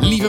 Lieve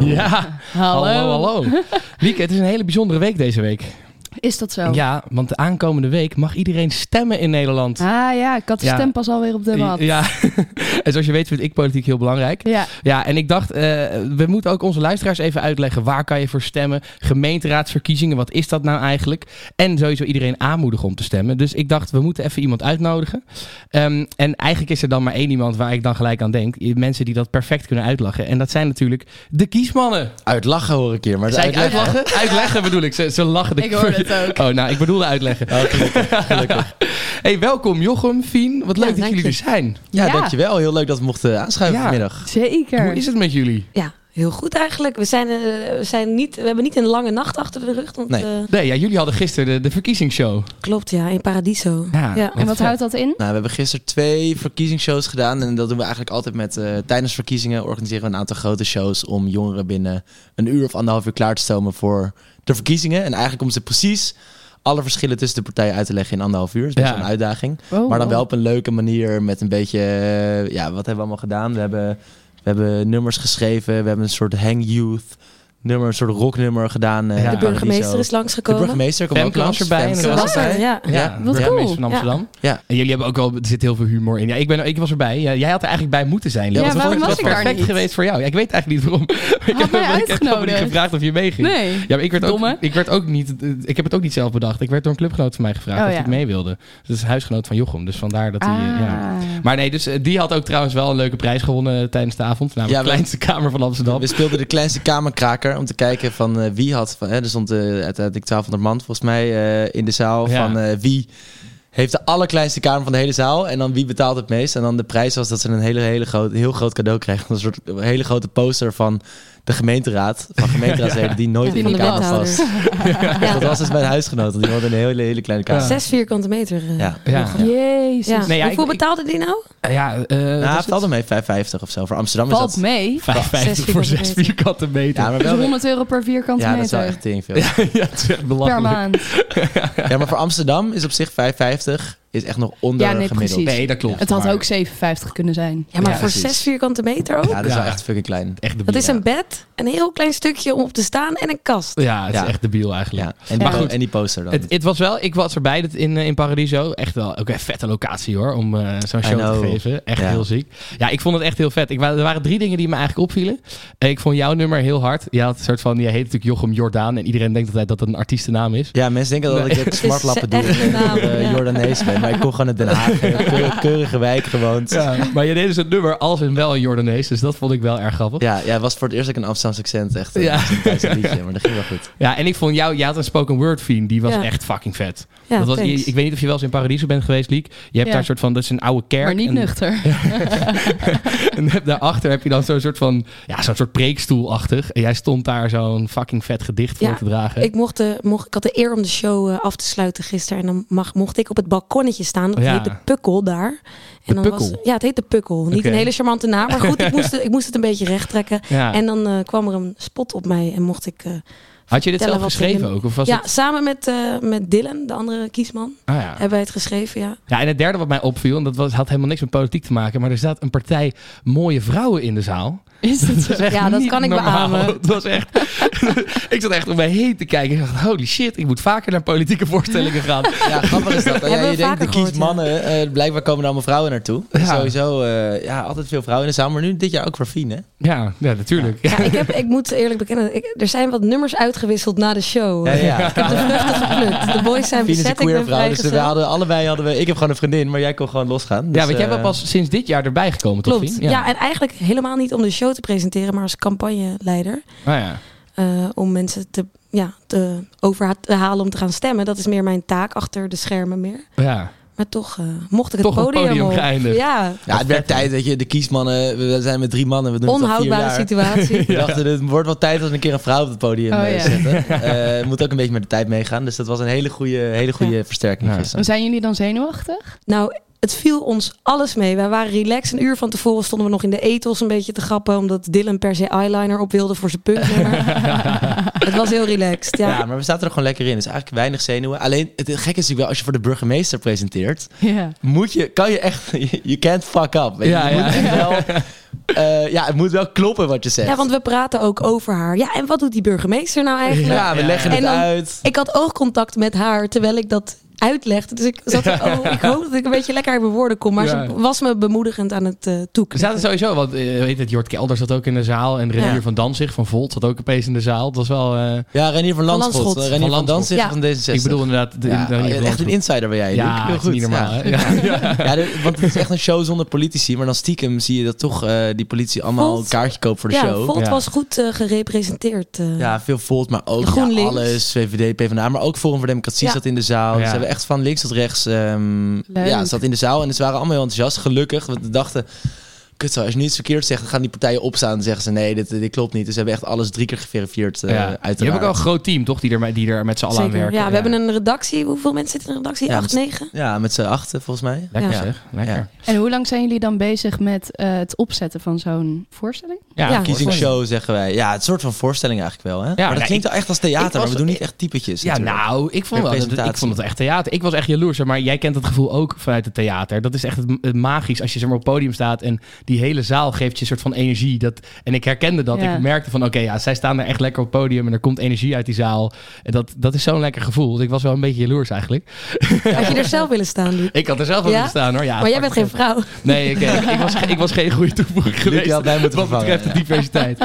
Ja, Hallo. hallo. Lieke, het is een hele bijzondere week deze week. Is dat zo? Ja, want de aankomende week mag iedereen stemmen in Nederland. Ah ja, ik had de Ja. stem pas alweer op de mat. Ja, en zoals je weet vind ik politiek heel belangrijk. Ja. Ja, en ik dacht, eh, we moeten ook onze luisteraars even uitleggen waar kan je voor stemmen. Gemeenteraadsverkiezingen, wat is dat nou eigenlijk? En sowieso iedereen aanmoedigen om te stemmen. Dus ik dacht, we moeten even iemand uitnodigen. Ehm, en eigenlijk is er dan maar één iemand waar ik dan gelijk aan denk. Mensen die dat perfect kunnen uitlachen. En dat zijn natuurlijk de kiesmannen. Uitlachen hoor ik hier, maar Zei ik uitleggen- uitlachen? Uitleggen bedoel ik. Ze, ze lachen. De Ik hoor het ook. Oh, nou, ik bedoelde uitleggen. Oh, gelukkig, gelukkig. Hey, welkom Jochem, Fien. Wat leuk dat dank jullie je. er zijn. Ja, Ja. dankjewel. Heel leuk dat we mochten aanschuiven Ja. vanmiddag. Zeker. Hoe is het met jullie? Ja, heel goed eigenlijk. We, zijn, eh, we, zijn niet, we hebben niet een lange nacht achter de rug. Want, Nee. eh, Nee, ja, jullie hadden gisteren de, de verkiezingsshow. klopt, ja, in Paradiso. Ja. en wat houdt dat in? Nou, we hebben gisteren twee verkiezingsshows gedaan. En dat doen we eigenlijk altijd met... eh, tijdens verkiezingen organiseren we een aantal grote shows... om jongeren binnen een uur of anderhalf uur klaar te stomen voor de verkiezingen. En eigenlijk om ze precies alle verschillen tussen de partijen uit te leggen in anderhalf uur. Dat is best Ja. wel een uitdaging. Oh, maar dan oh. wel op een leuke manier met een beetje... eh, ja, wat hebben we allemaal gedaan? We hebben, we hebben nummers geschreven. We hebben een soort hang youth nummer, een soort rocknummer gedaan. eh, Ja. De in burgemeester Paradiso. is De langsgekomen. Ah, burgemeester kwam ook Femke langs. was erbij, Femke inderdaad. was erbij. ja. Ja. Ja, Wat burgemeester cool. van Amsterdam. Ja. En jullie hebben ook al, er zit heel veel humor in. Ja, ik, ben, ik was erbij. Ja, jij had er eigenlijk bij moeten zijn. Leo. Ja, Dat waarom was was ik daar perfect niet? geweest voor jou. Ja, ik weet eigenlijk niet waarom. ik mij helemaal niet- ik helemaal niet uitgenodigd. gevraagd of je meeging. Nee. Ja, maar ik werd, ook, Domme. ik werd ook niet. Ik heb het ook niet zelf bedacht. Ik werd door een clubgenoot van mij gevraagd Oh, of ja. ik mee wilde. Dus dat is huisgenoot van Jochem. Dus vandaar dat hij. eh, Ja. Ah. Maar nee, dus eh, die had ook trouwens wel een leuke prijs gewonnen eh, tijdens de avond. Namelijk Ja, de we- kleinste kamer van Amsterdam. We speelden de kleinste kamerkraker om te kijken van eh, wie had... Van, hè, er stond eh, uiteindelijk 1200 man volgens mij eh, in de zaal Ja. van eh, wie... Heeft de allerkleinste kamer van de hele zaal. En dan wie betaalt het meest? En dan de prijs was dat ze een hele, hele groot, heel groot cadeau kregen. Een soort een hele grote poster van de gemeenteraad. Van gemeenteraadsleden die nooit Ja, in van de de kamer wethouder. vast. Dat was dus mijn huisgenoot. want Die had een hele, hele kleine kamer. Zes vierkante meter. eh. Ja. Ja. Jezus. Ja. Nee, ja, Hoeveel ik- ik- betaalde die nou? Ja, eh, wat Nou, is het valt mee, 5,50 of zo. Voor Amsterdam is Valt dat... mee. 55 voor 6 vierkante meter. vierkante meter. Ja, maar Dus wel... 100 euro per vierkante Ja, dat is wel meter. echt tering veel. Ja, het is echt Per belachelijk. maand. Ja, maar voor Amsterdam is op zich 5,50 is echt nog onder Ja, nee, gemiddeld. precies. Nee, dat klopt. Het had Maar ook 57 kunnen zijn. Ja, maar Ja, voor precies. zes vierkante meter ook? Ja, dat is wel Ja. echt fucking klein. Echt debiel. Dat is een bed, een heel klein stukje om op te staan en een kast. Ja, het is Ja. echt debiel eigenlijk. Ja. En, die, Maar goed. en die poster dan. Het, het was wel, ik was erbij dat in, eh, in Paradiso. Echt wel, ook een vette locatie hoor, om eh, zo'n I show te know. geven. Echt Ja. heel ziek. Ja, ik vond het echt heel vet. Ik, wa- er waren drie dingen die me eigenlijk opvielen. Eh, ik vond jouw nummer heel hard. Je had een soort van, je heet natuurlijk Jochem Jordaan. En iedereen denkt altijd dat dat een artiestennaam is. ja, mensen denken dat ik het smartlappen doe. echt een naam, eh, ja. Jordanees ben, maar ik kom gewoon uit Den Haag. Ik heb een keur- keurige wijk gewoond. Ja. Ja, maar je deed dus een nummer als en wel een Jordanees. Dus dat vond ik wel erg grappig. Ja, het was voor het eerst dat ik een Amsterdamse accent echt eh, Ja. dat is een Duitse liedje, maar dat ging wel goed. Ja, en ik vond jou, jij had een spoken word fiend, die was Ja. echt fucking vet. Ja, dat was, je- thanks. ik weet niet of je wel eens in Paradiso bent geweest, Liek. Je hebt Ja. daar een soort van, dat is een oude kerk. Maar niet en, nuchter. en heb- daarachter heb je dan zo'n soort van, ja, zo'n soort preekstoelachtig. En jij stond daar zo'n fucking vet gedicht voor Ja, te dragen. Ik, mocht de, mocht, ik had de eer om de show eh, af te sluiten gisteren. En dan mag, mocht ik op het balkonnetje staan. Dat Ja. heet de Pukkel daar. En dan Was, Pukkel? ja, het heet de Pukkel. Niet Oké. een hele charmante naam, maar goed, ik moest, het- ik moest het een beetje recht trekken. ja. En dan eh, kwam er een spot op mij en mocht ik... eh, Had je dit vertellen zelf wat geschreven in- ook? Of was ja, het, samen met, eh, met Dylan, de andere kiesman, ah, ja. hebben wij het geschreven, ja. ja, en het derde wat mij opviel, en dat was, had helemaal niks met politiek te maken, maar er zat een partij mooie vrouwen in de zaal. Is dat zo? is echt Ja, dat niet kan ik normaal. beamen. Het was echt... ik zat echt om mij heen te kijken. Ik dacht, holy shit, ik moet vaker naar politieke voorstellingen gaan. Ja, grappig is dat. hè? Ja, Hebben je we denkt, vaker de kies gehoord, ja. mannen, eh, blijkbaar komen er allemaal vrouwen naartoe. Ja. Sowieso, eh, ja, altijd veel vrouwen in de zaal, maar nu dit jaar ook voor Fien, hè? Ja, ja natuurlijk. ja ik, heb, ik moet eerlijk bekennen, ik- er zijn wat nummers uitgewisseld na de show. Ja, eh. ja. Ik heb de vruchten geplukt. De boys zijn Fien is een bezet, ik queer ben vrouw, dus we vrijgezel. hadden, allebei hadden we... Ik heb gewoon een vriendin, maar jij kon gewoon losgaan. Dus, ja, want jij eh, bent pas sinds dit jaar erbij gekomen, toch? Klopt. Fien? Ja. en eigenlijk helemaal niet om de show te presenteren, maar als campagneleider. Ah, ja. eh, om mensen te, ja, te over te halen om te gaan stemmen. Dat is meer mijn taak achter de schermen meer. Ja. Maar toch eh, mocht ik het Toch een podium, podium op. geëindigd. Ja, Ja, het werd tijd, weet je, de kiesmannen, we zijn met drie mannen, we doen het al onhoudbare vier jaar. situatie. We dachten, het wordt wel tijd dat we een keer een vrouw op het podium Oh, eh, ja. zetten. Eh, het moet ook een beetje met de tijd meegaan, dus dat was een hele goede, hele goede versterking Ja. gisteren. Zijn jullie dan zenuwachtig? Nou, het viel ons alles mee. Wij waren relaxed. Een uur van tevoren stonden we nog in de ethos een beetje te grappen. Omdat Dylan per se eyeliner op wilde voor zijn punknummer. het was heel relaxed. Ja. Ja. maar we zaten er gewoon lekker in. Dus eigenlijk weinig zenuwen. Alleen, het gekke is natuurlijk wel, als je voor de burgemeester presenteert, Ja. moet je, kan je echt, you can't fuck up. weet je. Ja, Je moet ja. echt wel, eh, ja, het moet wel kloppen wat je zegt. ja, want we praten ook over haar. Ja, en wat doet die burgemeester nou eigenlijk? Ja, we Ja. leggen het En dan- uit. Ik had oogcontact met haar terwijl ik dat uitlegde. Dus ik zat er, oh, ik hoop dat ik een beetje lekker uit mijn woorden kom. Maar Ja. ze was me bemoedigend aan het eh Er toeken. zaten sowieso, want eh, weet het, Jort Kelder zat ook in de zaal. En Renier Ja. van Danzig van Volt zat ook opeens in de zaal. Dat was wel... eh, Ja, Renier van Van Landschot. Eh, Landschot. Renier Van van, Landschot. Danzig Ja. van D66. ik bedoel inderdaad... De, Ja, de Renier van echt een Landschot. insider ben jij. Ja, heel het is goed. niet normaal. Ja. Eh, hè? Ja. Ja, de- want het is echt een show zonder politici. Maar dan stiekem zie je dat toch eh, die politie allemaal Volt. een kaartje koopt voor de Ja, show. Volt Ja. was goed eh, gerepresenteerd. eh. Ja, veel Volt, maar ook ja, GroenLinks. alles. VVD, PvdA, maar ook Forum voor Democratie Ja. zat in de zaal. Ja. Ze hebben echt van links tot rechts ehm, Leuk. ja, zat in de zaal. En ze waren allemaal heel enthousiast, gelukkig. Want we dachten, kut zo, als je nu iets verkeerd zegt, dan gaan die partijen opstaan. En zeggen ze, nee, dit, dit klopt niet. Dus ze hebben echt alles drie keer geverifieerd, eh Ja. Je hebt uiteraard. ook wel een groot team, toch? Die er, die er met z'n allen aan Zeker. werken. ja, we hebben een redactie. Hoeveel mensen zitten in de redactie? Ja, Acht, negen? Ja, met z'n achten volgens mij. Lekker Ja. zeg, lekker. En hoe lang zijn jullie dan bezig met eh, het opzetten van zo'n voorstelling? Ja, Ja. Kiezingsshow zeggen wij. Ja, het soort van voorstelling eigenlijk wel. Hè? maar dat nou, klinkt wel echt als theater, ik was- maar we doen niet echt typetjes. Ja, natuurlijk. nou, ik vond, Met wel, dat- ik presentatie. vond het echt theater. Ik was echt jaloers, hè, maar jij kent het gevoel ook vanuit het theater. Dat is echt het, het magisch als je zeg maar, op het podium staat en die hele zaal geeft je een soort van energie. Dat, en ik herkende dat. Ja. Ik merkte van, oké, ja, zij staan er echt lekker op het podium en er komt energie uit die zaal. En dat, dat is zo'n lekker gevoel. Dus ik was wel een beetje jaloers eigenlijk. Had je er zelf willen staan, Luc? Ik had er zelf aan Ja? willen staan hoor. Ja, Maar jij pak bent ik geen op. vrouw. Nee, ik, ik, ik was, ik was geen goede toevoeging geweest. had mij moeten wat betreft vervangen, de ja. diversiteit.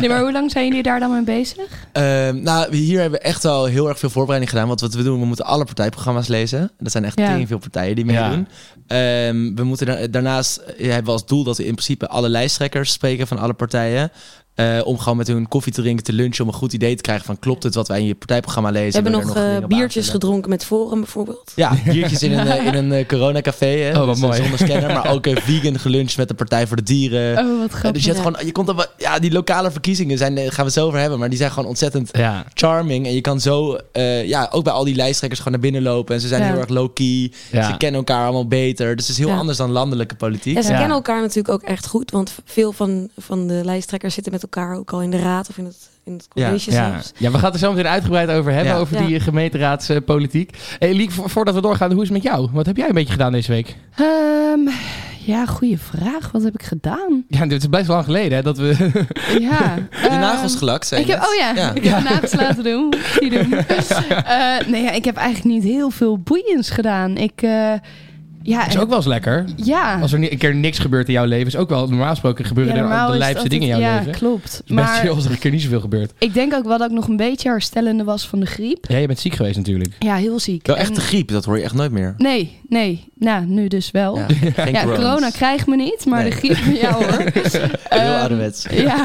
Nee, maar hoe lang zijn jullie daar dan mee bezig? Ehm, nou, hier hebben we echt al heel erg veel voorbereiding gedaan. Want wat we doen, we moeten alle partijprogramma's lezen. Dat zijn echt Ja. heel veel partijen die meedoen. Ehm, we moeten da- daarnaast eh, hebben we als doel dat we in principe alle lijsttrekkers spreken van alle partijen. Eh, om gewoon met hun koffie te drinken, te lunchen, om een goed idee te krijgen van klopt het wat wij in je partijprogramma lezen. We hebben Wil je nog er eh, dingen op biertjes aanvullen? gedronken met Forum bijvoorbeeld. Ja, biertjes in een, eh, in een eh, coronacafé. Hè, Oh, wat Dus, eh, mooi. Zonder scanner, maar ook eh, vegan geluncht met de Partij voor de Dieren. Oh, wat Eh, dus je, grappig. hebt gewoon, je komt dan wel- ja, die lokale verkiezingen zijn, eh, gaan we het zo over hebben, maar die zijn gewoon ontzettend Ja, charming. En je kan zo, eh, ja, ook bij al die lijsttrekkers gewoon naar binnen lopen. En ze zijn Ja. heel erg low-key. ja. Ze kennen elkaar allemaal beter. Dus het is heel Ja. anders dan landelijke politiek. Ja, ze Ja. kennen elkaar natuurlijk ook echt goed. Want veel van, van de lijsttrekkers zitten met elkaar ook al in de raad of in het, in het college Ja. zelfs. ja, we gaan het er zo meteen uitgebreid over hebben, Ja. over Ja. die eh, gemeenteraadspolitiek. Hey, Liek, vo- voordat we doorgaan, hoe is het met jou? Wat heb jij een beetje gedaan deze week? Ehm, ja, goede vraag. Wat heb ik gedaan? Ja, dit is best lang geleden hè, dat we... Ja. Je nagels ehm, gelakt zijn. Ik heb, oh ja, ik heb nagels laten doen. Die doen. Eh, nee, ja, ik heb eigenlijk niet heel veel boeiends gedaan. Ik, eh, ja, Dat is ook wel eens lekker. ja. Als er ni- een keer niks gebeurt in jouw leven, is ook wel normaal gesproken gebeuren ja, er normaal ook de is lijpste het dingen in jouw altijd- ja, leven. Het klopt. is best Maar chill als er een keer niet zoveel gebeurt. ik denk ook wel dat ik nog een beetje herstellende was van de griep. Ja, je bent ziek geweest natuurlijk. Ja, heel ziek. Wel En- echt de griep, dat hoor je echt nooit meer. Nee, nee. Nou, nu dus wel. Ja, Ja, geen corona's. corona krijgt me niet, maar Nee. de griep van jou hoor. Heel Ehm, ouderwets. Ja,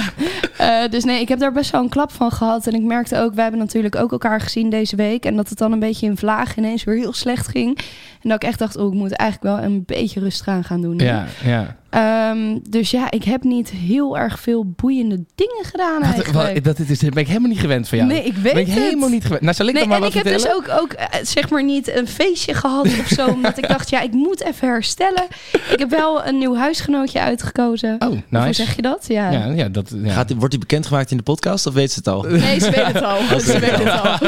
Eh, dus nee, ik heb daar best wel een klap van gehad. En ik merkte ook, wij hebben natuurlijk ook elkaar gezien deze week. En dat het dan een beetje in vlagen ineens weer heel slecht ging. En dat ik echt dacht, oh, ik moet eigenlijk wel een beetje rustig aan gaan doen. nu. Ja, ja. Ehm, dus ja, ik heb niet heel erg veel boeiende dingen gedaan Dat, eigenlijk. wat, dat, dit is, dit ben ik helemaal niet gewend van jou. nee, ik weet ben ik het. helemaal niet gewend. Nou, zal ik Nee, dan maar en wat ik heb vertellen? dus ook, ook eh, zeg maar niet een feestje gehad of zo. omdat ik dacht, ja, ik moet even herstellen. Ik heb wel een nieuw huisgenootje uitgekozen. Oh, Of Hoe nice. zeg je dat? Ja. Ja, ja, dat, ja. Gaat die, wordt die bekendgemaakt in de podcast of weet ze het al? Nee, ze weet het al. Ze weet het al.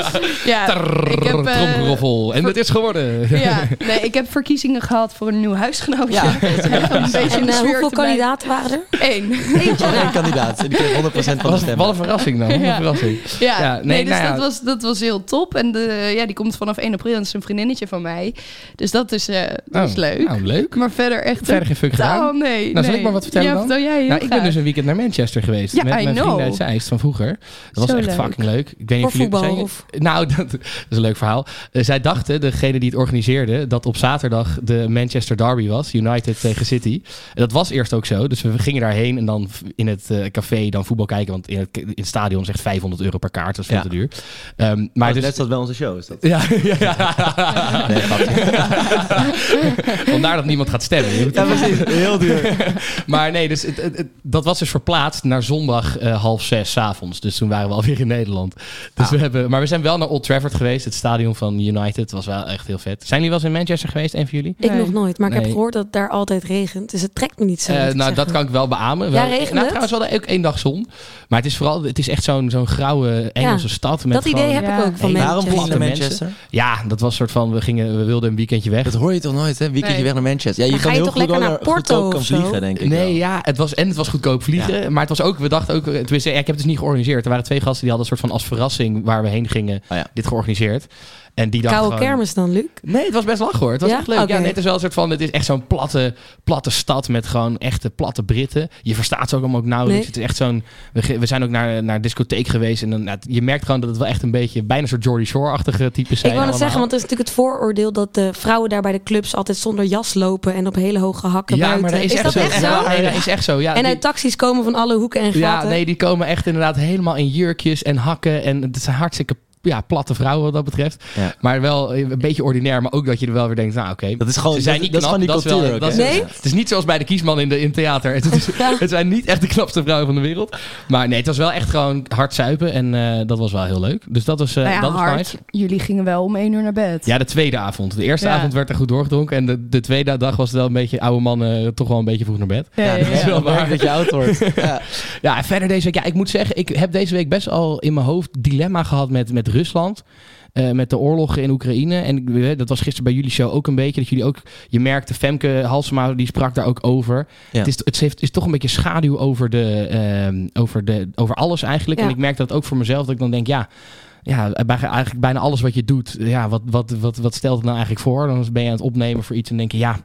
Ja, ik heb, eh, Tromgeroffel. En voor- het is geworden. Ja, nee, ik heb verkiezingen gehad voor een nieuw huisgenootje. Ja. Om een beetje in En de eh, sfeer hoeveel te blijven. kandidaten waren er? Eén. Alleen een kandidaat. En die kreeg 100% van de Wat, stemmen. wat een verrassing dan. Wat een Ja. verrassing. Ja, Ja, nee, nee, dus nou ja. dat, was, dat was heel top. En de, ja, die komt vanaf 1 april en is een vriendinnetje van mij. Dus dat is, eh, dat is Oh, leuk. Nou, leuk. Maar verder echt Verder geen fuck gedaan. totaal nee. Nou, zal nee. ik maar wat vertellen ja, dan? vertel jij heel Nou, ik ben graag. dus een weekend naar Manchester geweest. Ja, met I mijn vrienden know. uit Zeist van vroeger. Dat Zo was echt leuk. fucking leuk. Ik weet niet Voor of jullie voetbal, zijn- of? Nou, dat, dat is een leuk verhaal. Eh, zij dachten, degene die het organiseerde, dat op zaterdag de Manchester Derby was. United tegen City. En Dat was eerst ook zo. Dus we gingen daarheen en dan in het eh, café dan voetbal kijken. Want in het, in het stadion zegt 500 euro per kaart. Dat is veel Ja. te duur. Ehm, maar Maar dus, Oh, net zoals bij onze show is dat. ja, ja, ja. Nee, grapje. Vandaar dat niemand gaat stemmen. Je moet- Ja, precies. Heel duur. Maar nee, dus het, het- het- dat was dus verplaatst naar zondag eh, half zes 's avonds. Dus toen waren we alweer in Nederland. Ah. Dus we hebben, maar we zijn wel naar Old Trafford geweest. Het stadion van United was wel echt heel vet. Zijn jullie wel eens in Manchester geweest, een van jullie? Ik Nee. nog nooit, maar ik Nee. heb gehoord dat het daar altijd regent. Dus het trekt me niet zo. Eh, moet ik nou, dat zeggen. kan ik wel beamen. Ja, Wel- regent nou, het? trouwens, we hadden ook één dag zon. Maar het is vooral, het is echt zo'n zo'n grauwe Engelse stad. Met Dat idee gewoon- heb Ja. ik ook van Hey, Waarom Manchester. vlieg je naar mensen. Manchester? Ja, dat was een soort van, we, gingen, we wilden een weekendje weg. Dat hoor je toch nooit, hè? Weekendje Nee. weg naar Manchester. Ja, je kan Dan ga je heel toch goed lekker wel naar goedkoop Porto kan of zo? vliegen, denk ik wel. Nee, ja, het was, en het was goedkoop vliegen. Maar het was ook, we dachten ook, tenminste, ja, ik heb het dus niet georganiseerd. Er waren twee gasten die hadden een soort van als verrassing waar we heen gingen, Oh ja. dit georganiseerd. En die dachten Koude gewoon- kermis dan, Luc? Nee, het was best lach hoor. Het was Ja? echt leuk. Oké. Ja, nee, het is wel een soort van, het is echt zo'n platte, platte stad met gewoon echte platte Britten. Je verstaat ze ook allemaal ook nauwelijks. Nee. Het is echt zo'n, we, ge- we zijn ook naar, naar een discotheek geweest en dan, nou, je merkt gewoon dat het wel echt een beetje, bijna een soort Jordy Shore-achtige types zijn. Ik wou het allemaal. zeggen, want het is natuurlijk het vooroordeel dat de vrouwen daar bij de clubs altijd zonder jas lopen en op hele hoge hakken ja, buiten. maar dat is, echt dat zo. echt zo? Ja, nee, dat is echt zo. Ja, En die- uit taxis komen van alle hoeken en gaten. Ja, nee, die komen echt inderdaad helemaal in jurkjes en hakken. En het zijn hartstikke ja, platte vrouwen wat dat betreft. Ja. Maar wel een beetje ordinair. Maar ook dat je er wel weer denkt, nou oké. Dat is gewoon Ze zijn niet dat is knap, van die dat is wel- cultuur ook, dat hè? is- Nee? Het is niet zoals bij de kiesman in, de, in theater. Het, is, het zijn niet echt de knapste vrouwen van de wereld. Maar nee, het was wel echt gewoon hard zuipen. En eh, dat was wel heel leuk. Dus dat was, eh, Nou ja, dat was hard. nice. Jullie gingen wel om één uur naar bed. Ja, de tweede avond. De eerste Ja. avond werd er goed doorgedronken. En de, de tweede dag was het wel een beetje oude mannen eh, toch wel een beetje vroeg naar bed. Ja, ja, dat is ja. Ja, wel maar- waar dat je oud wordt. Ja. Ja, en verder deze week. Ja, ik moet zeggen, ik heb deze week best al in mijn hoofd dilemma gehad met, met Rusland. eh, met de oorlogen in Oekraïne. En ik- eh, dat was gisteren bij jullie show ook een beetje. Dat jullie ook, je merkte, Femke Halsema, die sprak daar ook over. Ja. Het, is, het heeft, is toch een beetje schaduw over, de, ehm, over, de, over alles eigenlijk. Ja. En ik merk dat ook voor mezelf. Dat ik dan denk, ja, ja bij, eigenlijk bijna alles wat je doet. Ja, wat, wat, wat, wat stelt het nou eigenlijk voor? Dan ben je aan het opnemen voor iets en denk je, ja,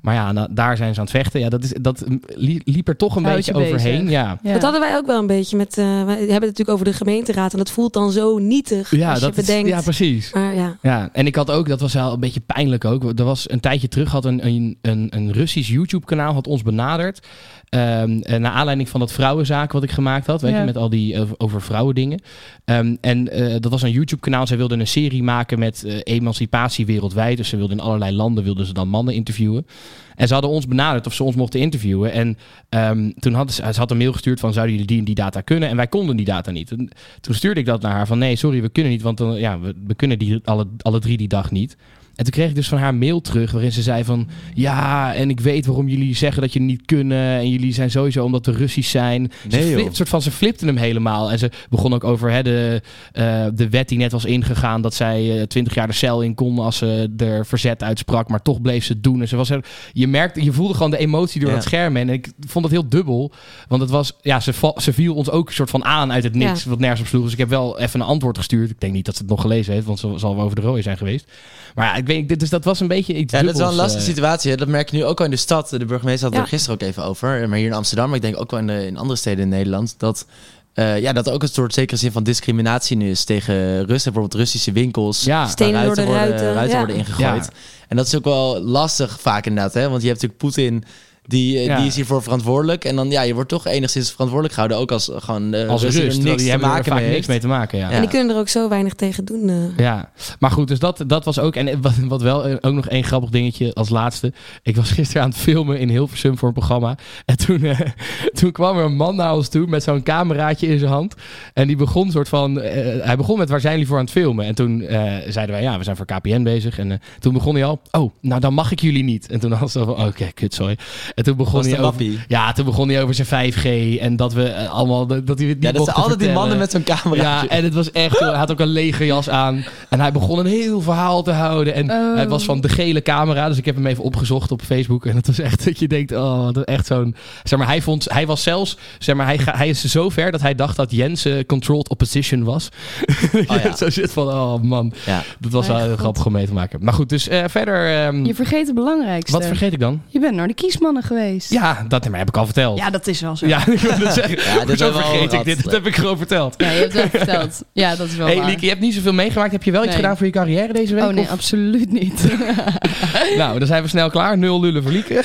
maar ja, nou, daar zijn ze aan het vechten. Ja, dat, is, dat li- liep er toch een Houdt beetje je bezig. overheen. Ja. Ja. Dat hadden wij ook wel een beetje met. eh, we hebben het natuurlijk over de gemeenteraad en dat voelt dan zo nietig als je is- bedenkt. ja, precies. maar ja, Ja, en ik had ook, dat was wel een beetje pijnlijk ook. Er was een tijdje terug had een, een, een, een Russisch YouTube-kanaal had ons benaderd. ehm, eh, naar aanleiding van dat vrouwenzaak wat ik gemaakt had. Weet Ja. je, met al die eh, over vrouwendingen. Ehm, en eh, dat was een YouTube-kanaal. Zij wilden een serie maken met eh, emancipatie wereldwijd. Dus ze wilden in allerlei landen wilden ze dan mannen interviewen. En ze hadden ons benaderd of ze ons mochten interviewen. En ehm, toen hadden ze, ze had een mail gestuurd van zouden jullie die en die data kunnen? En wij konden die data niet. En toen stuurde ik dat naar haar van nee, sorry, we kunnen niet, want dan, ja, we, we kunnen die alle, alle drie die dag niet. En toen kreeg ik dus van haar mail terug waarin ze zei van ja, en ik weet waarom jullie zeggen dat je niet kunnen en jullie zijn sowieso omdat de Russisch zijn. Nee, ze, joh. flip, soort van, ze flipten hem helemaal en ze begon ook over hè, de, eh, de wet die net was ingegaan dat zij eh, twintig jaar de cel in kon als ze er verzet uitsprak, maar toch bleef ze het doen. En ze was er, je merkte, je voelde gewoon de emotie door Ja. het scherm heen. en ik vond het heel dubbel, want het was ja, ze, va- ze viel ons ook een soort van aan uit het niks wat nergens op sloeg. Dus ik heb wel even een antwoord gestuurd. Ik denk niet dat ze het nog gelezen heeft, want ze zal wel over de rode zijn geweest. Maar ja, ik weet, dit- dus dat was een beetje iets Ja, dat is wel een dubbels, lastige eh. situatie. hè. Dat merk je nu ook al in de stad. De burgemeester had het Ja. er gisteren ook even over. Maar hier in Amsterdam, maar ik denk ook wel in, de- in andere steden in Nederland. Dat, eh, ja, dat er ook een soort zekere zin van discriminatie nu is tegen Russen. Bijvoorbeeld Russische winkels. Ja. waar Stenen door de ruiten worden, ruiten, ja. worden ingegooid. En dat is ook wel lastig vaak inderdaad. Hè? Want je hebt natuurlijk Poetin... Die, eh, Ja. die is hiervoor verantwoordelijk. En dan, ja, je wordt toch enigszins verantwoordelijk gehouden. Ook als eh, gewoon eh, als Russen er rust, terwijl niks die te hebben er maken vaak mee niks heeft. mee te maken. Ja. en die kunnen er ook zo weinig tegen doen. eh. Ja, maar goed, dus dat, dat was ook. En eh, wat, wat wel, eh, ook nog één grappig dingetje als laatste. Ik was gisteren aan het filmen in Hilversum voor een programma. En toen, eh, toen kwam er een man naar ons toe met zo'n cameraatje in zijn hand. En die begon soort van. eh, hij begon met waar zijn jullie voor aan het filmen? En toen eh, zeiden wij, ja, we zijn voor KPN bezig. En eh, toen begon hij al, oh, nou dan mag ik jullie niet. En toen had ze van, oké, kut, sorry. En toen begon Dat is hij de over. mappie. Ja, toen begon hij over zijn 5G en dat we eh, allemaal dat hij het niet Ja, dat mochten zijn altijd die vertellen. mannen met zo'n camera. Ja, en het was echt, hij had ook een legerjas aan. En hij begon een heel verhaal te houden. En Oh. hij was van de gele camera, dus ik heb hem even opgezocht op Facebook. En het was echt dat je denkt, oh, wat een- echt zo'n... Zeg maar, hij vond, hij was zelfs, zeg maar, hij, ga- hij is zo ver dat hij dacht dat Jensen controlled opposition was. Oh ja. zo zit van, oh man, Ja. dat was wel Mijn heel god. grappig om mee te maken. Maar goed, dus eh, verder, ehm, Je vergeet het belangrijkste. wat vergeet ik dan? Je bent naar de kiesmannen Sanne geweest. Ja, dat maar heb ik al verteld. Ja, dat is wel zo. Ja, ik wil het zeggen. Ja, Hoezo dit hebben we al vergeet ik gehad. dit? Dat heb ik gewoon verteld. Ja, je hebt wel verteld. Ja, dat is wel hey, waar. Lieke, je hebt niet zoveel meegemaakt. Heb je wel iets Nee. gedaan voor je carrière deze week? Oh nee, Of- absoluut niet. Nou, dan zijn we snel klaar. Nul lullen voor Lieke.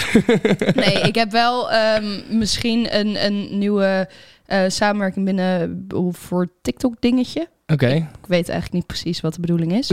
Nee, ik heb wel ehm, misschien een, een nieuwe eh, samenwerking binnen voor TikTok dingetje. Oké. Ik weet eigenlijk niet precies wat de bedoeling is.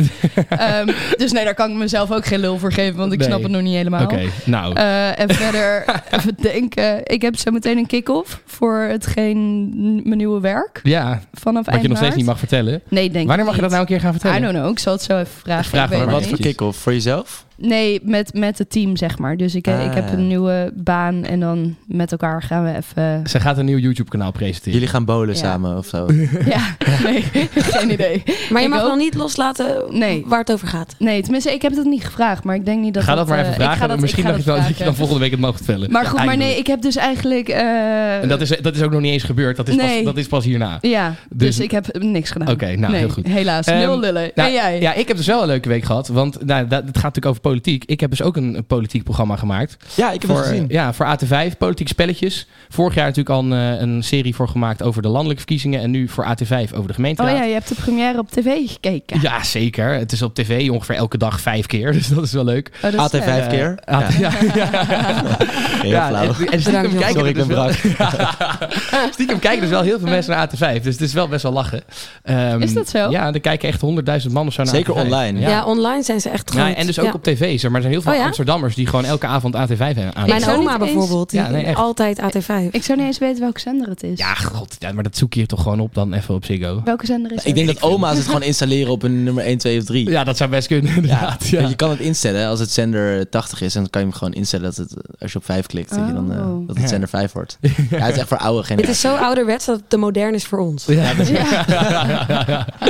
Ehm, dus nee, daar kan ik mezelf ook geen lul voor geven, want ik Nee. snap het nog niet helemaal. Oké, nou. Eh, en verder even denken. Ik heb zo meteen een kick-off voor hetgeen mijn nieuwe werk ja, vanaf wat je nog steeds niet mag vertellen. Nee, denk ik Wanneer mag je dat nou een keer gaan niet. I vertellen? don't know. Ik zal het zo even vragen. Vraag Ik weet maar het wat niet. Wat voor precies. kick-off? Voor jezelf? Nee, met, met het team, zeg maar. Dus ik, Ah, ik heb ja. een nieuwe baan en dan met elkaar gaan we even... Ze gaat een nieuw YouTube-kanaal presenteren. Jullie gaan bowlen Ja. samen of zo? Ja, nee, geen idee. Maar je Ik mag ook. nog niet loslaten Nee. waar het over gaat. Nee, tenminste, ik heb het niet gevraagd, maar ik denk niet dat ga dat maar eh, even ik ga vragen. dat- Misschien ik ga dat, je dan, dat je dan vragen. volgende week het mag vertellen. Maar goed, maar nee, Eindelijk. ik heb dus eigenlijk... eh, En dat is, dat is ook nog niet eens gebeurd. Dat is, Nee. pas, dat is pas hierna. Ja, dus, Dus- ik heb niks gedaan. Oké, nou, nee, heel goed. helaas. Ehm, Nul lullen. nou, en jij? Ja, ik heb dus wel een leuke week gehad. Want nou, dat, het gaat natuurlijk over politiek. Ik heb dus ook een, een politiek programma gemaakt. Ja, ik heb voor, het gezien. Ja, voor AT5, politiek spelletjes. Vorig jaar natuurlijk al een, eh, een serie voor gemaakt over de landelijke verkiezingen. En nu voor AT5 over de Oh gemeenteraad. ja, je hebt de première op tv gekeken. Ja, zeker. Het is op tv ongeveer elke dag vijf keer. Dus dat is wel leuk. Oh, dat is AT5 leuk. Vijf keer? Eh, AT- ja. ja. Heel Ja, flauw. En, en stiekem Bedankt, kijken Sorry, ik er ben dus wel- brak. stiekem kijken dus wel heel veel mensen naar AT5. Dus het is wel best wel lachen. Ehm, Is dat zo? Ja, er kijken echt honderdduizend man of zo naar Zeker AT5. online. Ja. online zijn ze echt goed. Ja, en dus ook Ja. op tv. Zeg maar er zijn heel veel Oh ja? Amsterdammers die gewoon elke avond AT5 hebben aan. Mijn zou oma niet eens- bijvoorbeeld, die Ja, nee, echt. altijd AT5. Ik zou niet eens weten welke zender het is. Ja, god. Ja, maar dat zoek je toch gewoon op dan even op Ziggo. Welke zender is Ik het? denk dat oma's het gewoon installeren op een nummer 1, 2 of 3. Ja, dat zou best kunnen inderdaad. Ja. Je kan het instellen als het zender 80 is. En dan kan je hem gewoon instellen dat het, als je op 5 klikt, dat, je dan, eh, Oh. dat het Ja. zender 5 wordt. Ja, het is echt voor oude Dit generatie. is zo ouderwets dat het te modern is voor ons. Ja, dat- Ja.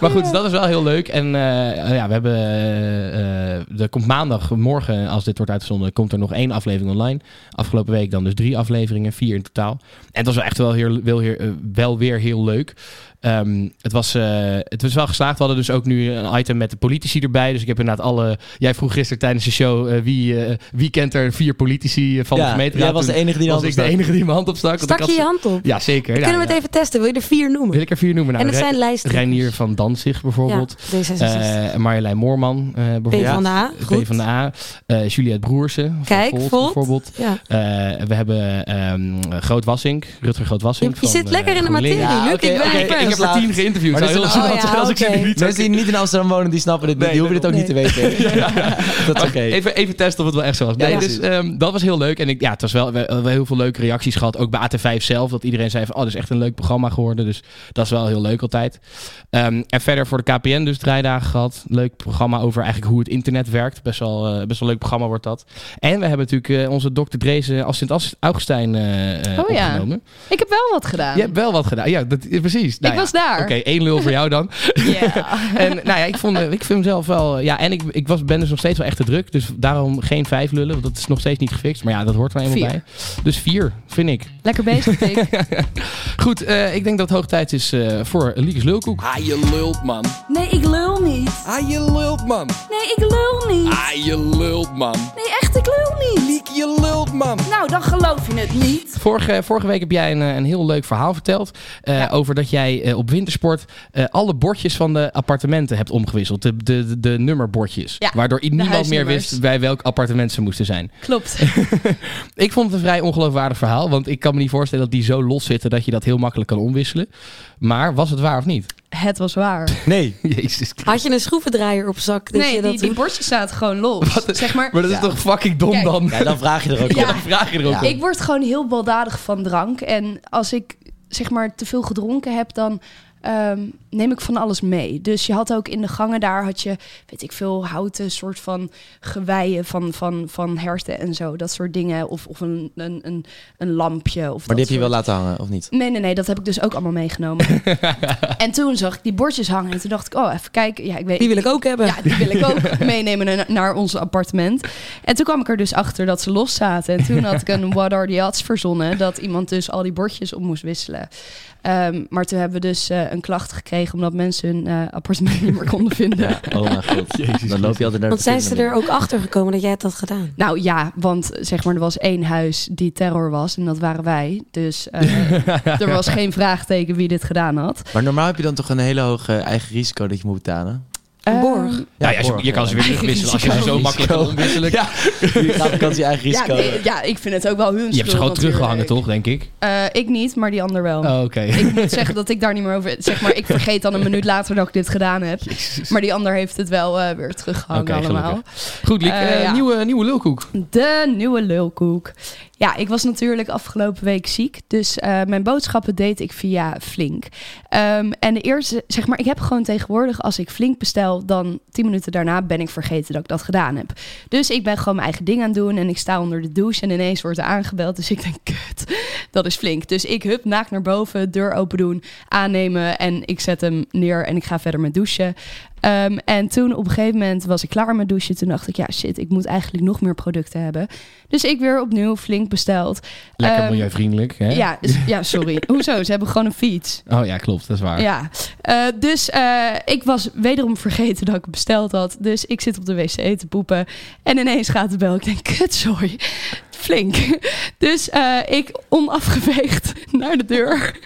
maar goed, dat is wel heel leuk. En eh, ja, we hebben. eh, eh, er komt maandag, morgen, als dit wordt uitgezonden, komt er nog één aflevering online. Afgelopen week dan dus drie afleveringen, vier in totaal. En het was wel echt wel, heel, wel, heel- eh, wel weer heel leuk. Ehm, het, was, eh, het was wel geslaagd. We hadden dus ook nu een item met de politici erbij. Dus ik heb inderdaad alle. Jij vroeg gisteren tijdens de show eh, wie, eh, wie kent er vier politici eh, van de ja, gemeenteraad. jij was de Toen enige die was dan ik de enige die mijn hand opstak. want Stak ik je had je ze- hand op? Ja, zeker. Kunnen we het even testen? Wil je er vier noemen? Wil ik er vier noemen? Nou, en het Re- zijn lijsten. Reinier van Danzig bijvoorbeeld. Ja, D66. Eh, Marjolein Moorman eh, P bijvoorbeeld. van de A. P Goed. van de A. Eh, Juliette Broersen. van Kijk, Volt Volt. bijvoorbeeld. Ja. Eh, we hebben ehm Groot Wassink, Rutger Groot Je, Wassink. eh, je zit lekker in de materie, GroenLinks. Ja, Luc. oké, ik ben oké, er Ik heb er Geslaagd. tien geïnterviewd. Maar Zou heel dit is een- gênant oh ja, zijn als ik ze oké. nu niet Mensen die niet in Amsterdam wonen, die snappen dit niet. Nee, die hoeven dit ook daarom. niet te weten. Dat is oké. Even, even testen of het wel echt zo was. Nee, Ja, dus precies. ehm, dat was heel leuk. En ik, ja, het was wel, we hebben wel heel veel leuke reacties gehad. Ook bij AT5 zelf. Dat iedereen zei van, oh, dit is echt een leuk programma geworden. Dus dat is wel heel leuk altijd. Ehm, en verder voor de KPN dus drie dagen gehad. Leuk programma over eigenlijk hoe het internet werkt. Best wel, eh, best wel leuk programma wordt dat. En we hebben natuurlijk eh, onze dokter Drezen als Sint-Augustijn eh eh, Oh ja. opgenomen. Ik heb wel wat gedaan. Je hebt wel wat gedaan. Ja, dat, eh, precies. Nou ik ja. was daar. Oké, één lul voor jou dan. Ja. En nou ja, ik, vond, eh, ik vind hem zelf wel. eh, Ja, en ik, ik was, ben dus nog steeds wel echt te druk. Dus daarom geen vijf lullen. Want dat is nog steeds niet gefixt. Maar ja, dat hoort er eenmaal Vier. bij. Dus vier, vind ik. Lekker bezig, Tik. Goed, eh, ik denk dat het hoog tijd is eh, voor Liekes Lulkoek. Ah, je lult, man. Nee, ik lul niet. Ah, je lult, man. Nee, ik lul niet. Ah, je lult, man. Nee, echt, ik lul niet. Liek, je lult, man. Nou, dan geloof je het niet. Vorige, vorige week heb jij een, eh, een heel leuk verhaal verteld. eh, Over dat jij eh, op wintersport eh, alle bordjes van de appartementen hebt omgewisseld. De, de, de, de nummerbordjes. Ja, waardoor niemand meer huisnummers. wist bij welk appartement ze moesten zijn. Klopt. Ik vond het een vrij ongeloofwaardig verhaal. Want ik kan me niet voorstellen dat die zo los zitten dat je dat heel makkelijk kan omwisselen. Maar was het waar of niet? Het was waar. Nee. Jezus. Had je een schroevendraaier op zak? Dat je nee, dat die, die doet? bordjes zaten gewoon los. Zeg maar, Maar dat is toch fucking dom Kijk. dan? Ja, dan vraag je er ook Ja, op. dan vraag je er ook Ja. om. ik word gewoon heel baldadig van drank. En als ik zeg maar te veel gedronken heb, dan ehm, neem ik van alles mee. Dus je had ook in de gangen daar, had je, weet ik veel, houten soort van geweien van, van, van herten en zo. Dat soort dingen. Of, of een, een, een, een lampje. Of Maar die dat heb je wel soort- laten hangen, of niet? Nee, nee, nee, dat heb ik dus ook allemaal meegenomen. en toen zag ik die bordjes hangen en toen dacht ik, oh, even kijken. Ja, ik weet, Die wil ik ook hebben. ja, die wil ik ook meenemen na- naar ons appartement. En toen kwam ik er dus achter dat ze los zaten. En toen had ik een What Are the Odds verzonnen. Dat iemand dus al die bordjes op moest wisselen. Ehm, maar toen hebben we dus eh, een klacht gekregen omdat mensen hun eh, appartement niet meer konden vinden. Ja, oh mijn god. Jezus Dan loop je altijd naar de Want zijn ze verkeerde er ook achter gekomen dat jij het had gedaan? Nou ja, want zeg maar, er was één huis die terror was en dat waren wij. Dus eh, er was geen vraagteken wie dit gedaan had. manier. Maar normaal heb je dan toch een hele hoog eh, eigen risico dat je moet betalen? Ehm, Borg. Ja, Nou ja, je, je kan ze weer terugwisselen als je ze zo makkelijk kan omwisselen. Ja, je gaat op vakantie je eigen ja, risico. nee, ja, ik vind het ook wel hun Je hebt ze schuld gewoon teruggehangen, natuurlijk. toch, denk ik? Eh, ik niet, maar die ander wel. Oh, Oké. Ik moet zeggen dat ik daar niet meer over... Zeg maar, ik vergeet dan een minuut later dat ik dit gedaan heb. Maar die ander heeft het wel eh, weer teruggehangen Oké, allemaal. Goed, Liek. Eh, eh, ja. nieuwe, nieuwe lulkoek. De nieuwe lulkoek. Ja, ik was natuurlijk afgelopen week ziek. Dus eh, mijn boodschappen deed ik via Flink. Ehm, en de eerste, zeg maar, ik heb gewoon tegenwoordig... als ik Flink bestel, dan tien minuten daarna ben ik vergeten dat ik dat gedaan heb. Dus ik ben gewoon mijn eigen ding aan het doen. En ik sta onder de douche en ineens wordt er aangebeld. Dus ik denk, kut, dat is Flink. Dus ik hup naakt naar boven, deur open doen, aannemen. En ik zet hem neer en ik ga verder met douchen. Ehm, en toen op een gegeven moment was ik klaar met douchen. Toen dacht ik, ja shit, ik moet eigenlijk nog meer producten hebben. Dus ik weer opnieuw flink besteld. Lekker Ehm, milieuvriendelijk, hè? Ja, s- ja, sorry. Hoezo? Ze hebben gewoon een fiets. Oh ja, klopt. Dat is waar. Ja, Eh, dus eh, ik was wederom vergeten dat ik het besteld had. Dus ik zit op de wc te poepen. En ineens gaat de bel. Ik denk, kut, sorry. Flink. Dus eh, ik onafgeveegd naar de deur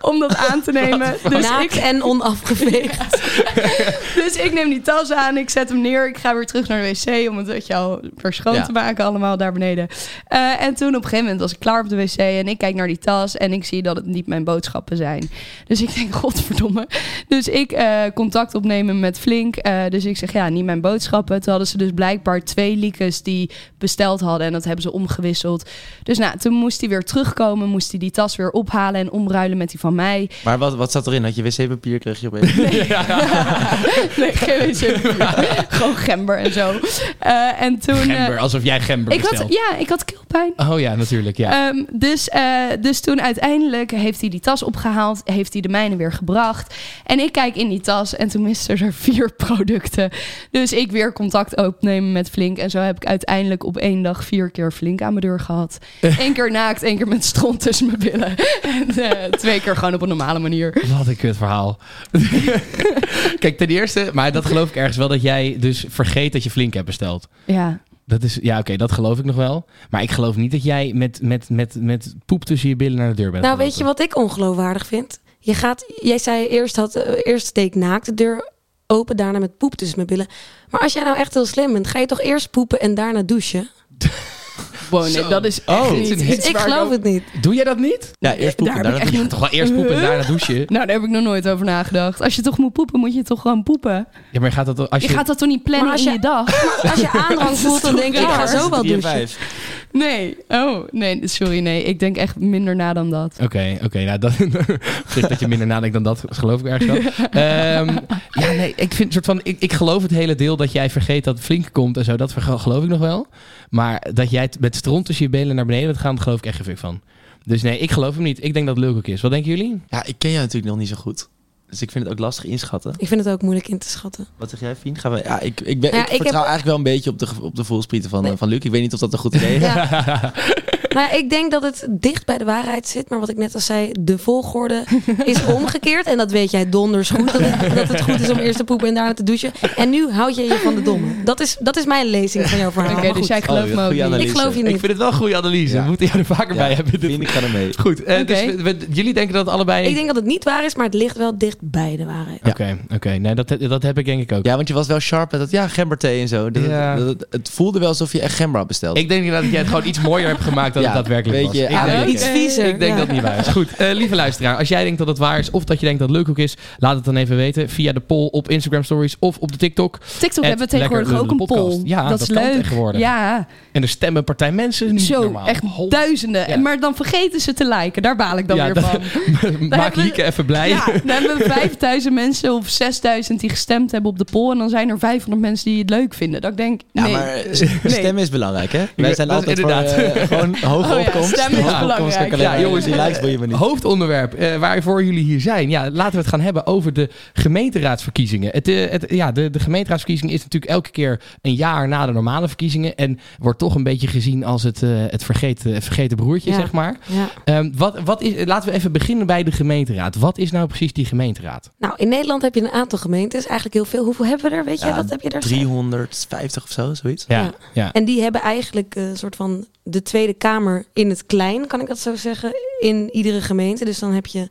om dat aan te nemen. Dus Naakt ik, en onafgeveegd. dus ik neem die tas aan, ik zet hem neer. Ik ga weer terug naar de wc om het weet je al weer schoon Ja. te maken allemaal daar beneden. Eh, en toen op een gegeven moment was ik klaar op de wc en ik kijk naar die tas en ik zie dat het niet mijn boodschappen zijn. Dus ik denk, godverdomme. Dus ik eh, contact opnemen met Flink. Eh, dus ik zeg, ja, niet mijn boodschappen. Toen hadden ze dus blijkbaar twee liekes die besteld hadden en dat hebben ze omgewisseld. Dus nou, toen moest hij weer terugkomen, moest hij die tas weer ophalen en omruilen met die van mij. Maar wat, wat zat erin? Had je wc-papier, kreeg je opeens... nee, geen wc-papier. Gewoon gember en zo. Eh, en toen... eh, Gember, alsof jij gember ik had, bestelt. ja, ik had keelpijn. Oh ja, natuurlijk, ja. Ehm, dus, eh, dus toen uiteindelijk heeft hij die tas opgehaald, heeft hij de mijne weer gebracht. En ik kijk in die tas en toen misten er vier producten. Dus ik weer contact opnemen met Flink. En zo heb ik uiteindelijk op één dag vier keer Flink aan mijn deur gehad. Eén keer naakt, één keer met stront tussen mijn billen. En eh, twee keer gewoon op een normale manier. Wat een kut verhaal. Kijk, ten eerste, maar dat geloof ik ergens wel dat jij dus vergeet dat je flink hebt besteld. Ja, Dat is, ja, oké, dat geloof ik nog wel. Maar ik geloof niet dat jij met, met, met, met poep tussen je billen naar de deur bent. Nou, weet je wat ik ongeloofwaardig vind? Je gaat, jij zei eerst, had, eh, eerst steek naakt de deur open, daarna met poep tussen mijn billen. Maar als jij nou echt heel slim bent, ga je toch eerst poepen en daarna douchen? Wow, nee, Zo. dat is Oh, echt het is niet een iets hit. Ik waar geloof over- het niet. Doe jij dat niet? Ja, eerst poepen, daar heb ik daarna echt douchen. Toch wel eerst poepen en daarna douchen. Nou, daar heb ik nog nooit over nagedacht. Als je toch moet poepen, moet je toch gewoon poepen. Ja, maar je gaat dat als Je je... gaat dat toch niet plannen Maar als in je- je dag? Als je aandrang voelt, dan denk je, ik ga raar? zo wel Drie en douchen. vijf. Nee. Oh, nee, sorry, nee. Ik denk echt minder na dan dat. Oké, oké. nou, dat, op zich dat je minder nadenkt dan dat, geloof ik ergens wel. Ehm, ja, nee, ik vind soort van... Ik, ik geloof het hele deel dat jij vergeet dat flink komt en zo. Dat verge- geloof ik nog wel. Maar dat jij het met stront tussen je benen naar beneden bent gaan, daar geloof ik echt geen fuck van. Dus nee, ik geloof hem niet. Ik denk dat het leuk ook is. Wat denken jullie? Ja, ik ken jou natuurlijk nog niet zo goed. Dus ik vind het ook lastig inschatten. Ik vind het ook moeilijk in te schatten. Wat zeg jij, vriend? Gaan we... Ja, ik, ik, ben, Ja, ik, ik heb- vertrouw eigenlijk wel een beetje op de, ge- op de voelsprieten van, Nee. eh, van Luc. Ik weet niet of dat een goed idee is. Ja. nou ja, ik denk dat het dicht bij de waarheid zit. Maar wat ik net al zei, de volgorde is omgekeerd. En dat weet jij donders goed. Dat het, dat het goed is om eerst te poepen en daarna te douchen. En nu houd jij je van de domme. Dat is, dat is mijn lezing van jouw verhaal. Oké, Maar dus goed. jij gelooft Oh, me ook goede niet. analyse. Ik geloof je Ik niet. vind het wel een goede analyse. Ja. We moeten jou er vaker bij hebben. Dit- Vriend, ik ga ermee. Goed, eh, Oké. dus we- we- jullie denken dat het allebei... Ik denk dat het niet waar is, maar het ligt wel dicht bij de waarheid. Oké, oké. Nee, dat, dat heb ik denk ik ook. Ja, want je was wel sharp met dat, ja, gemberthee en zo. Dat, Ja. dat- dat- het voelde wel alsof je echt gember had besteld. Ik denk dat jij het gewoon iets mooier hebt gemaakt dan Ja, het daadwerkelijk weet was. je, Ik aan- denk- Oké. Iets viezer. Ik denk ja. dat het niet waar is. Goed, eh, lieve luisteraar. Als jij denkt dat het waar is of dat je denkt dat het leuk ook is, laat het dan even weten via de poll op Instagram Stories of op de TikTok. TikTok Het hebben we tegenwoordig Lekker ook een Lullen poll. podcast. Ja, dat, dat is kan leuk. tegenwoordig. Ja, En er stemmen partij mensen niet zo. normaal. Echt Hol- duizenden. Ja. Maar dan vergeten ze te liken. Daar baal ik dan Ja, weer dat- van. Maak hebben we- Hieke even blij. Ja, dan hebben we 5000 mensen of 6000 die gestemd hebben op de poll. En dan zijn er 500 mensen die het leuk vinden. Dat ik denk, ja, nee. maar eh, s- stemmen is belangrijk, hè? Wij zijn dat is altijd voor, inderdaad. eh, gewoon Hoge Oh ja, opkomst. stemmen is Hoge opkomst belangrijk. kan ik alleen Ja, maar- jongens, die likes wil je me niet. Hoofdonderwerp eh, waarvoor jullie hier zijn. Ja, laten we het gaan hebben over de gemeenteraadsverkiezingen. Het, eh, het, ja, de, de gemeenteraadsverkiezing is natuurlijk elke keer een jaar na de normale verkiezingen. En wordt toch een beetje gezien als het, eh, het vergeten, het vergeten broertje, Ja. zeg maar. Ja. Ehm, wat, wat is, laten we even beginnen bij de gemeenteraad. Wat is nou precies die gemeenteraad? Nou, in Nederland heb je een aantal gemeentes, eigenlijk heel veel. Hoeveel hebben we er? Weet je, Ja, dat heb je daar? 350 of zo, zoiets. Ja. Ja, ja. En die hebben eigenlijk eh, een soort van de Tweede Kamer in het klein, kan ik dat zo zeggen, in iedere gemeente. Dus dan heb je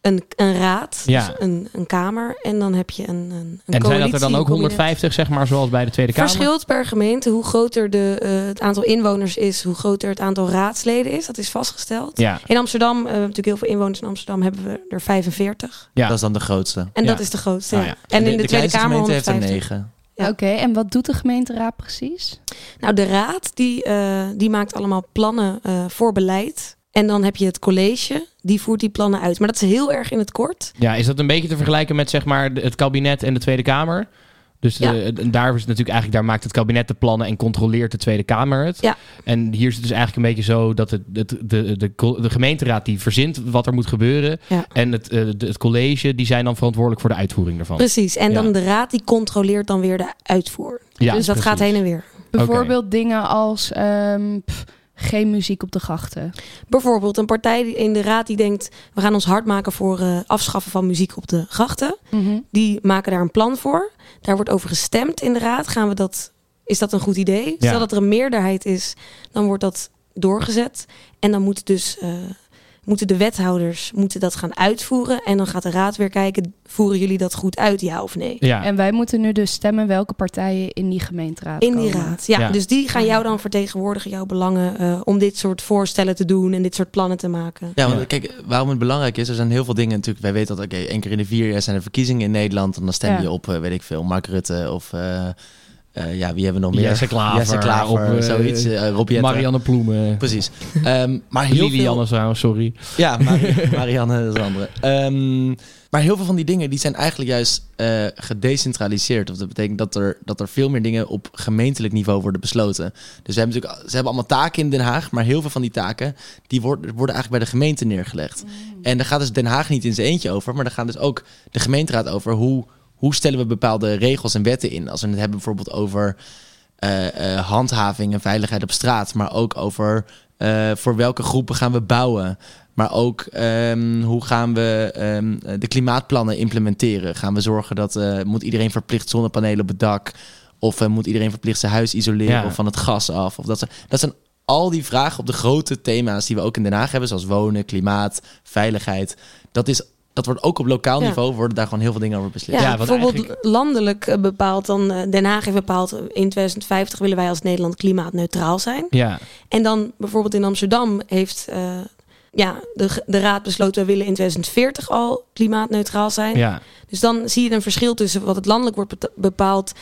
een, een raad, Ja. dus een, een kamer en dan heb je een, een, een En zijn dat er dan ook coalitie, een kabinet. 150, zeg maar, zoals bij de Tweede Kamer? Verschilt per gemeente hoe groter de, eh, het aantal inwoners is, hoe groter het aantal raadsleden is. Dat is vastgesteld. Ja, In Amsterdam, eh, we hebben natuurlijk heel veel inwoners in Amsterdam, hebben we er 45. ja. Dat is dan de grootste. En Ja. dat is de grootste. Ah, ja. ja. En in de, Tweede kleinste Kamer gemeente heeft er 150. 9. Ja. Oké, en wat doet de gemeenteraad precies? Nou, de raad die, eh, die maakt allemaal plannen eh, voor beleid. En dan heb je het college, die voert die plannen uit. Maar dat is heel erg in het kort. Ja, is dat een beetje te vergelijken met zeg maar de- het kabinet en de Tweede Kamer? Dus Ja. eh, en daar is het natuurlijk eigenlijk, daar maakt het kabinet de plannen en controleert de Tweede Kamer het. Ja. En hier is het dus eigenlijk een beetje zo dat het, het- de, de, co- de gemeenteraad die verzint wat er moet gebeuren. Ja. En het, eh, de- het college, die zijn dan verantwoordelijk voor de uitvoering daarvan. Precies. En dan Ja. de raad die controleert dan weer de uitvoer. Ja, dus dat precies. gaat heen en weer. Bijvoorbeeld dingen als ehm, pff, geen muziek op de grachten. Bijvoorbeeld een partij die- in de raad die denkt... we gaan ons hard maken voor eh, afschaffen van muziek op de grachten. Die maken daar een plan voor. Daar wordt over gestemd in de raad. Gaan we dat, is dat een goed idee? Stel dat er een meerderheid is, dan wordt dat doorgezet. En dan moet dus, eh, moeten de wethouders moeten dat gaan uitvoeren. En dan gaat de raad weer kijken, voeren jullie dat goed uit, ja of nee? Ja, En wij moeten nu dus stemmen welke partijen in die gemeenteraad In die komen. raad, ja. Ja. Dus die gaan jou dan vertegenwoordigen, jouw belangen... eh, om dit soort voorstellen te doen en dit soort plannen te maken. Ja, want Ja. kijk, waarom het belangrijk is, er zijn heel veel dingen natuurlijk. Wij weten dat, oké, één keer in de vier jaar zijn er verkiezingen in Nederland. En dan stem Ja. je op, eh, weet ik veel, Mark Rutte of... eh, eh, ja, wie hebben we nog meer? Jesse Klaver, Jesse Klaver, op, eh, zoiets. eh, Rob Jetten. Marianne Ploemen, Precies. Ehm, maar heel veel- Lilianne trouwens, sorry. Ja, Mari- Marianne, dat is een andere. Ehm, maar heel veel van die dingen die zijn eigenlijk juist eh, gedecentraliseerd. Of dat betekent dat er, dat er veel meer dingen op gemeentelijk niveau worden besloten. Dus we hebben natuurlijk, ze hebben allemaal taken in Den Haag, maar heel veel van die taken die worden, worden eigenlijk bij de gemeente neergelegd. En daar gaat dus Den Haag niet in zijn eentje over, maar daar gaat dus ook de gemeenteraad over hoe, hoe stellen we bepaalde regels en wetten in. Als we het hebben bijvoorbeeld over eh, eh, handhaving en veiligheid op straat, maar ook over eh, voor welke groepen gaan we bouwen. Maar ook ehm, hoe gaan we ehm, de klimaatplannen implementeren? Gaan we zorgen dat eh, moet iedereen verplicht zonnepanelen op het dak? Of eh, moet iedereen verplicht zijn huis isoleren Ja. of van het gas af? Of dat, soort- dat zijn al die vragen op de grote thema's die we ook in Den Haag hebben, zoals wonen, klimaat, veiligheid. Dat, is, dat wordt ook op lokaal Ja. niveau worden daar gewoon heel veel dingen over Ja, beslist. Ja, want bijvoorbeeld eigenlijk- landelijk eh, bepaald dan eh, Den Haag heeft bepaald eh, in 2050 willen wij als Nederland klimaatneutraal zijn. Ja, En dan bijvoorbeeld in Amsterdam heeft eh, ja, de, ge- de raad besloten we willen in 2040 al klimaatneutraal zijn. ja. Dus dan zie je een verschil tussen wat het landelijk wordt beta- bepaald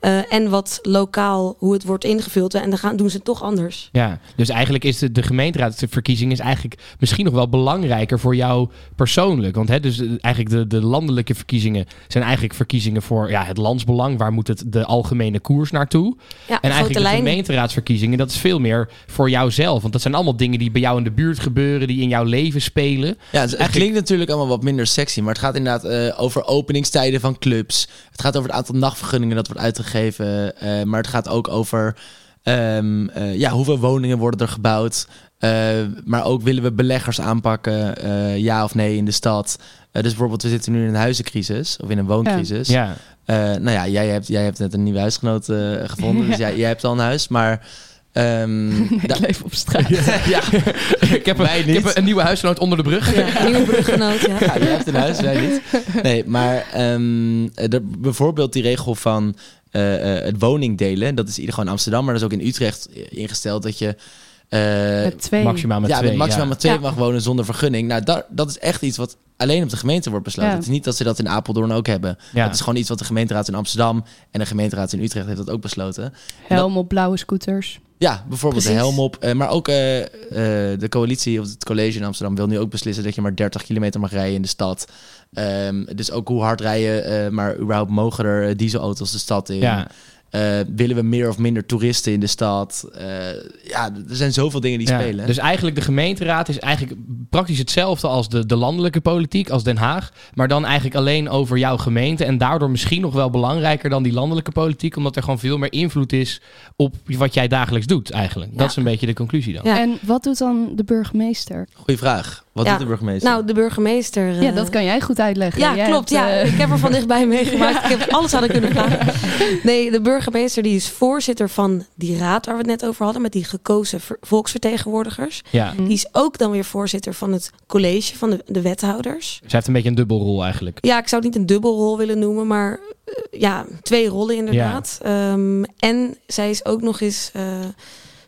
eh, en wat lokaal hoe het wordt ingevuld. En dan gaan, doen ze het toch anders. Ja, dus eigenlijk is de, de gemeenteraadsverkiezing is eigenlijk misschien nog wel belangrijker voor jou persoonlijk. Want hè, dus eh, eigenlijk de, de landelijke verkiezingen zijn eigenlijk verkiezingen voor ja, het landsbelang. Waar moet het de algemene koers naartoe? Ja, En grote eigenlijk de lijn. gemeenteraadsverkiezingen, dat is veel meer voor jouzelf. Want dat zijn allemaal dingen die bij jou in de buurt gebeuren, die in jouw leven spelen. Ja, dus het Eigenlijk- klinkt natuurlijk allemaal wat minder sexy, maar het gaat inderdaad eh, over openingstijden van clubs. Het gaat over het aantal nachtvergunningen dat wordt uitgegeven, eh, maar het gaat ook over ehm, eh, ja, hoeveel woningen worden er gebouwd. Eh, maar ook willen we beleggers aanpakken, eh, ja of nee, in de stad. Eh, dus bijvoorbeeld, we zitten nu in een huizencrisis of in een wooncrisis. Ja, Eh, nou ja, jij hebt, jij hebt net een nieuwe huisgenoot eh, gevonden, dus jij, jij hebt al een huis, maar... ehm, da- Ik leef op straat. ja, ik heb, een, Wij ik niet. heb een- een nieuwe huisgenoot onder de brug. Ja, nieuwe bruggenoot, ja. Ja, je hebt een huis, wij niet. Nee, maar ehm, er- bijvoorbeeld die regel van eh, eh, het woningdelen. Dat is in ieder geval in Amsterdam, maar dat is ook in Utrecht eh, ingesteld dat je... eh, Met twee. Maximaal met ja, twee. met maximaal ja. met twee Ja. mag wonen zonder vergunning. Nou, daar, dat is echt iets wat alleen op de gemeente wordt besloten. Ja. Het is niet dat ze dat in Apeldoorn ook hebben. Ja. Dat is gewoon iets wat de gemeenteraad in Amsterdam en de gemeenteraad in Utrecht heeft dat ook besloten. Helm op blauwe scooters. Ja, bijvoorbeeld de Precies. helm op. eh, maar ook eh, eh, de coalitie of het college in Amsterdam wil nu ook beslissen dat je maar 30 kilometer mag rijden in de stad. Ehm, dus ook hoe hard rijden, eh, maar überhaupt mogen er eh, dieselauto's de stad in. Ja. Eh, willen we meer of minder toeristen in de stad? Eh, ja, er zijn zoveel dingen die Ja, spelen. Dus eigenlijk de gemeenteraad is eigenlijk praktisch hetzelfde als de, de landelijke politiek, als Den Haag. Maar dan eigenlijk alleen over jouw gemeente. En daardoor misschien nog wel belangrijker dan die landelijke politiek. Omdat er gewoon veel meer invloed is op wat jij dagelijks doet eigenlijk. Dat is een beetje de conclusie dan. Ja. En wat doet dan de burgemeester? Goeie vraag. Wat Ja. doet de burgemeester? Nou, de burgemeester. eh, Ja, dat kan jij goed uitleggen. Ja, Jij klopt. hebt, ja. eh, Ik heb er van dichtbij meegemaakt. Ik heb alles aan haar kunnen vragen. Nee, de burgemeester die is voorzitter van die raad waar we het net over hadden. Met die gekozen ver- volksvertegenwoordigers. eh, Ja. Mm. Die is ook dan weer voorzitter van het college van de, de wethouders. Zij heeft een beetje een dubbelrol eigenlijk. Ja, ik zou het niet een dubbelrol willen noemen, maar eh, ja, twee rollen inderdaad. Ehm, en zij is ook nog eens eh,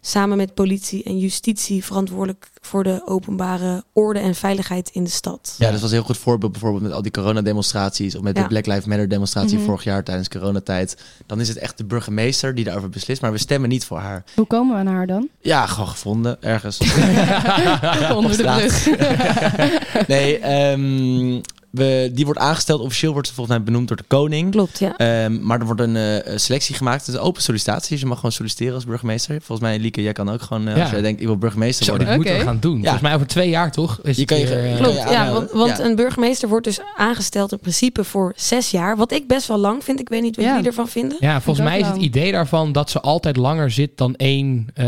samen met politie en justitie verantwoordelijk voor de openbare orde en veiligheid in de stad. Ja, dat was een heel goed voorbeeld bijvoorbeeld met al die coronademonstraties of met Ja. de Mhm. Black Lives Matter demonstratie vorig jaar tijdens coronatijd. Dan is het echt de burgemeester die daarover beslist, maar we stemmen niet voor haar. Hoe komen we aan haar dan? Ja, gewoon gevonden ergens. Onder de straat. brug. nee, ehm, we, die wordt aangesteld. Officieel wordt ze volgens mij benoemd door de koning. Klopt, ja. Ehm, maar er wordt een eh, selectie gemaakt. Het is een open sollicitatie. Dus je mag gewoon solliciteren als burgemeester. Volgens mij, Lieke, jij kan ook gewoon... eh, Ja. Als jij denkt, ik wil burgemeester Zo, dit worden. moeten we Oké. gaan doen. Volgens mij over twee jaar toch? Is Je het kan je- weer, eh, kan Klopt, je ja, aanmelden. want, want Ja. een burgemeester wordt dus aangesteld in principe voor zes jaar. Wat ik best wel lang vind. Ik weet niet wat Ja. jullie ervan vinden. Ja, volgens ook mij is het wel. idee daarvan dat ze altijd langer zit dan één, eh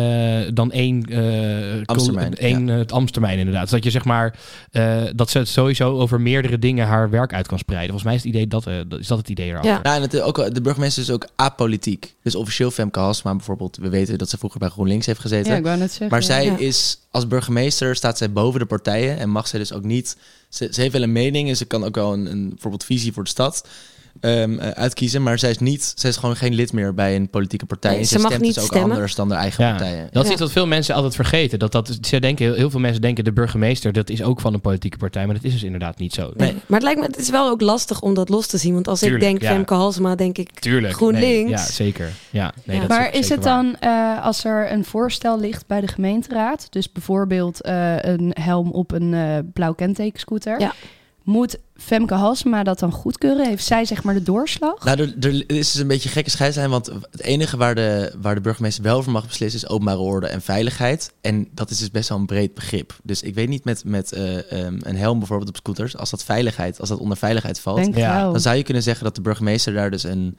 dan één, eh Ambtstermijn, col- één eh, Ambtstermijn inderdaad. Dus Dat je zeg maar eh, dat ze het sowieso over meerdere dingen haar werk uit kan spreiden. Volgens mij is het idee dat, eh, dat is dat het idee erachter. Ja. Ja, Nou, en het, is ook, wel- de burgemeester is ook apolitiek. Dus officieel Femke Halsma bijvoorbeeld. We weten dat ze vroeger bij GroenLinks heeft gezeten. Ja, ik wou net zeggen. Maar zij Ja. is als burgemeester staat zij boven de partijen en mag zij dus ook niet. Ze, ze heeft wel een mening en ze kan ook wel een, een bijvoorbeeld visie voor de stad ehm, eh, uitkiezen, maar zij is niet. Zij is gewoon geen lid meer bij een politieke partij. Nee, en ze ze mag stemt niet dus ook stemmen. anders dan de eigen Ja, partijen. dat is Ja. iets wat veel mensen altijd vergeten. Dat dat, ze denken, heel, heel veel mensen denken de burgemeester, dat is ook van een politieke partij. Maar dat is dus inderdaad niet zo. Nee. Maar het lijkt me, het is wel ook lastig om dat los te zien. Want als Tuurlijk, ik denk ja. Femke Halsema, denk ik Tuurlijk. GroenLinks. Nee, ja, zeker. Ja, nee, Ja. Dat Maar ook is zeker het waar. dan eh, als er een voorstel ligt bij de gemeenteraad, dus bijvoorbeeld eh, een helm op een eh, blauw kentekenscooter, Ja. moet Femke Halsema dat dan goedkeuren? Heeft zij zeg maar de doorslag? Nou, er, er is dus een beetje gekke scheidslijn, want het enige waar de, waar de burgemeester wel over mag beslissen is openbare orde en veiligheid. En dat is dus best wel een breed begrip. Dus ik weet niet met, met eh, ehm, een helm bijvoorbeeld op scooters, als dat veiligheid, als dat onder veiligheid valt, Denk Ja, Oh. wel. dan zou je kunnen zeggen dat de burgemeester daar dus een.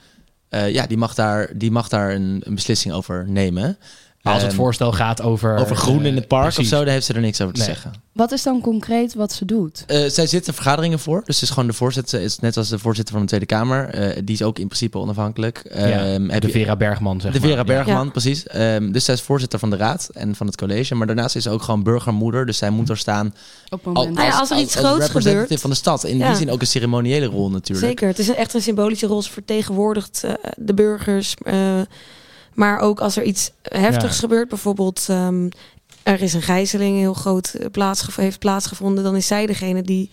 eh, ja, die mag daar, die mag daar een, een beslissing over nemen. Als het Ehm, voorstel gaat over... Over groen in het eh, park precies. of zo, daar heeft ze er niks over te Nee. zeggen. Wat is dan concreet wat ze doet? Eh, zij zit er vergaderingen voor. Dus ze is gewoon de voorzitter. is net als de voorzitter van de Tweede Kamer. eh, die is ook in principe onafhankelijk. Ehm, heb De je- Vera Bergman, zeg de maar. Vera Ja. Bergman, Ja. precies. Ehm, dus zij is voorzitter van de raad en van het college. Maar daarnaast is ze ook gewoon burgermoeder. Dus zij moet er staan Op het al- moment. Nou ja, als er iets groots representative gebeurt. van de stad. In Ja. die zin ook een ceremoniële rol natuurlijk. Zeker, het is een- echt een symbolische rol. Ze vertegenwoordigt eh, de burgers. eh, maar ook als er iets heftigs Ja. gebeurt, bijvoorbeeld ehm, er is een gijzeling heel groot eh, plaatsgev- heeft plaatsgevonden, dan is zij degene die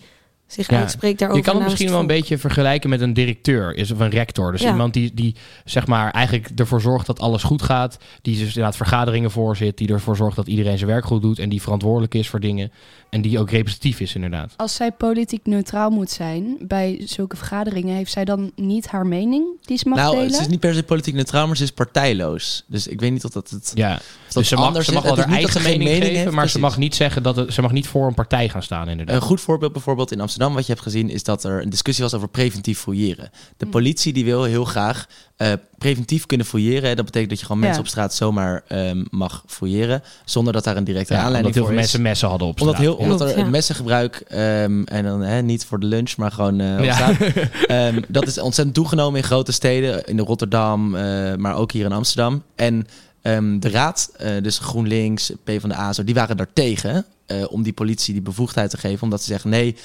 zich Ja. uitspreekt Je daarover. kan het namens misschien wel een volk. beetje vergelijken met een directeur is, of een rector. Dus Ja. iemand die, die zeg maar eigenlijk ervoor zorgt dat alles goed gaat. Die dus inderdaad vergaderingen voorzit. Die ervoor zorgt dat iedereen zijn werk goed doet. En die verantwoordelijk is voor dingen. En die ook representatief is inderdaad. Als zij politiek neutraal moet zijn bij zulke vergaderingen, heeft zij dan niet haar mening die ze mag nou, delen? ze is niet per se politiek neutraal, maar ze is partijloos. Dus ik weet niet of dat het... Ja. of dat Dus ze mag, anders ze mag is. wel Het haar is niet dat eigen ze geen mening geven. maar heeft, ze precies. Oh, mag niet zeggen dat het- ze mag niet voor een partij gaan staan inderdaad. Een goed voorbeeld bijvoorbeeld in Amsterdam, wat je hebt gezien, is dat er een discussie was over preventief fouilleren. Hm. De politie die wil heel graag eh, preventief kunnen fouilleren. Dat betekent dat je gewoon mensen Ja. op straat zomaar ehm, mag fouilleren, zonder dat daar een directe ja, omdat aanleiding heel voor veel is. mensen messen hadden op omdat, straat. heel, Ja. omdat er Klopt, ja. messengebruik ehm, en dan hè, niet voor de lunch, maar gewoon eh, op Ja. straat. Ehm, dat is ontzettend toegenomen in grote steden, in Rotterdam, eh, maar ook hier in Amsterdam. En ehm, de raad, eh, dus GroenLinks, PvdA, zo, die waren daartegen. eh om die politie die bevoegdheid te geven. Omdat ze zeggen, nee,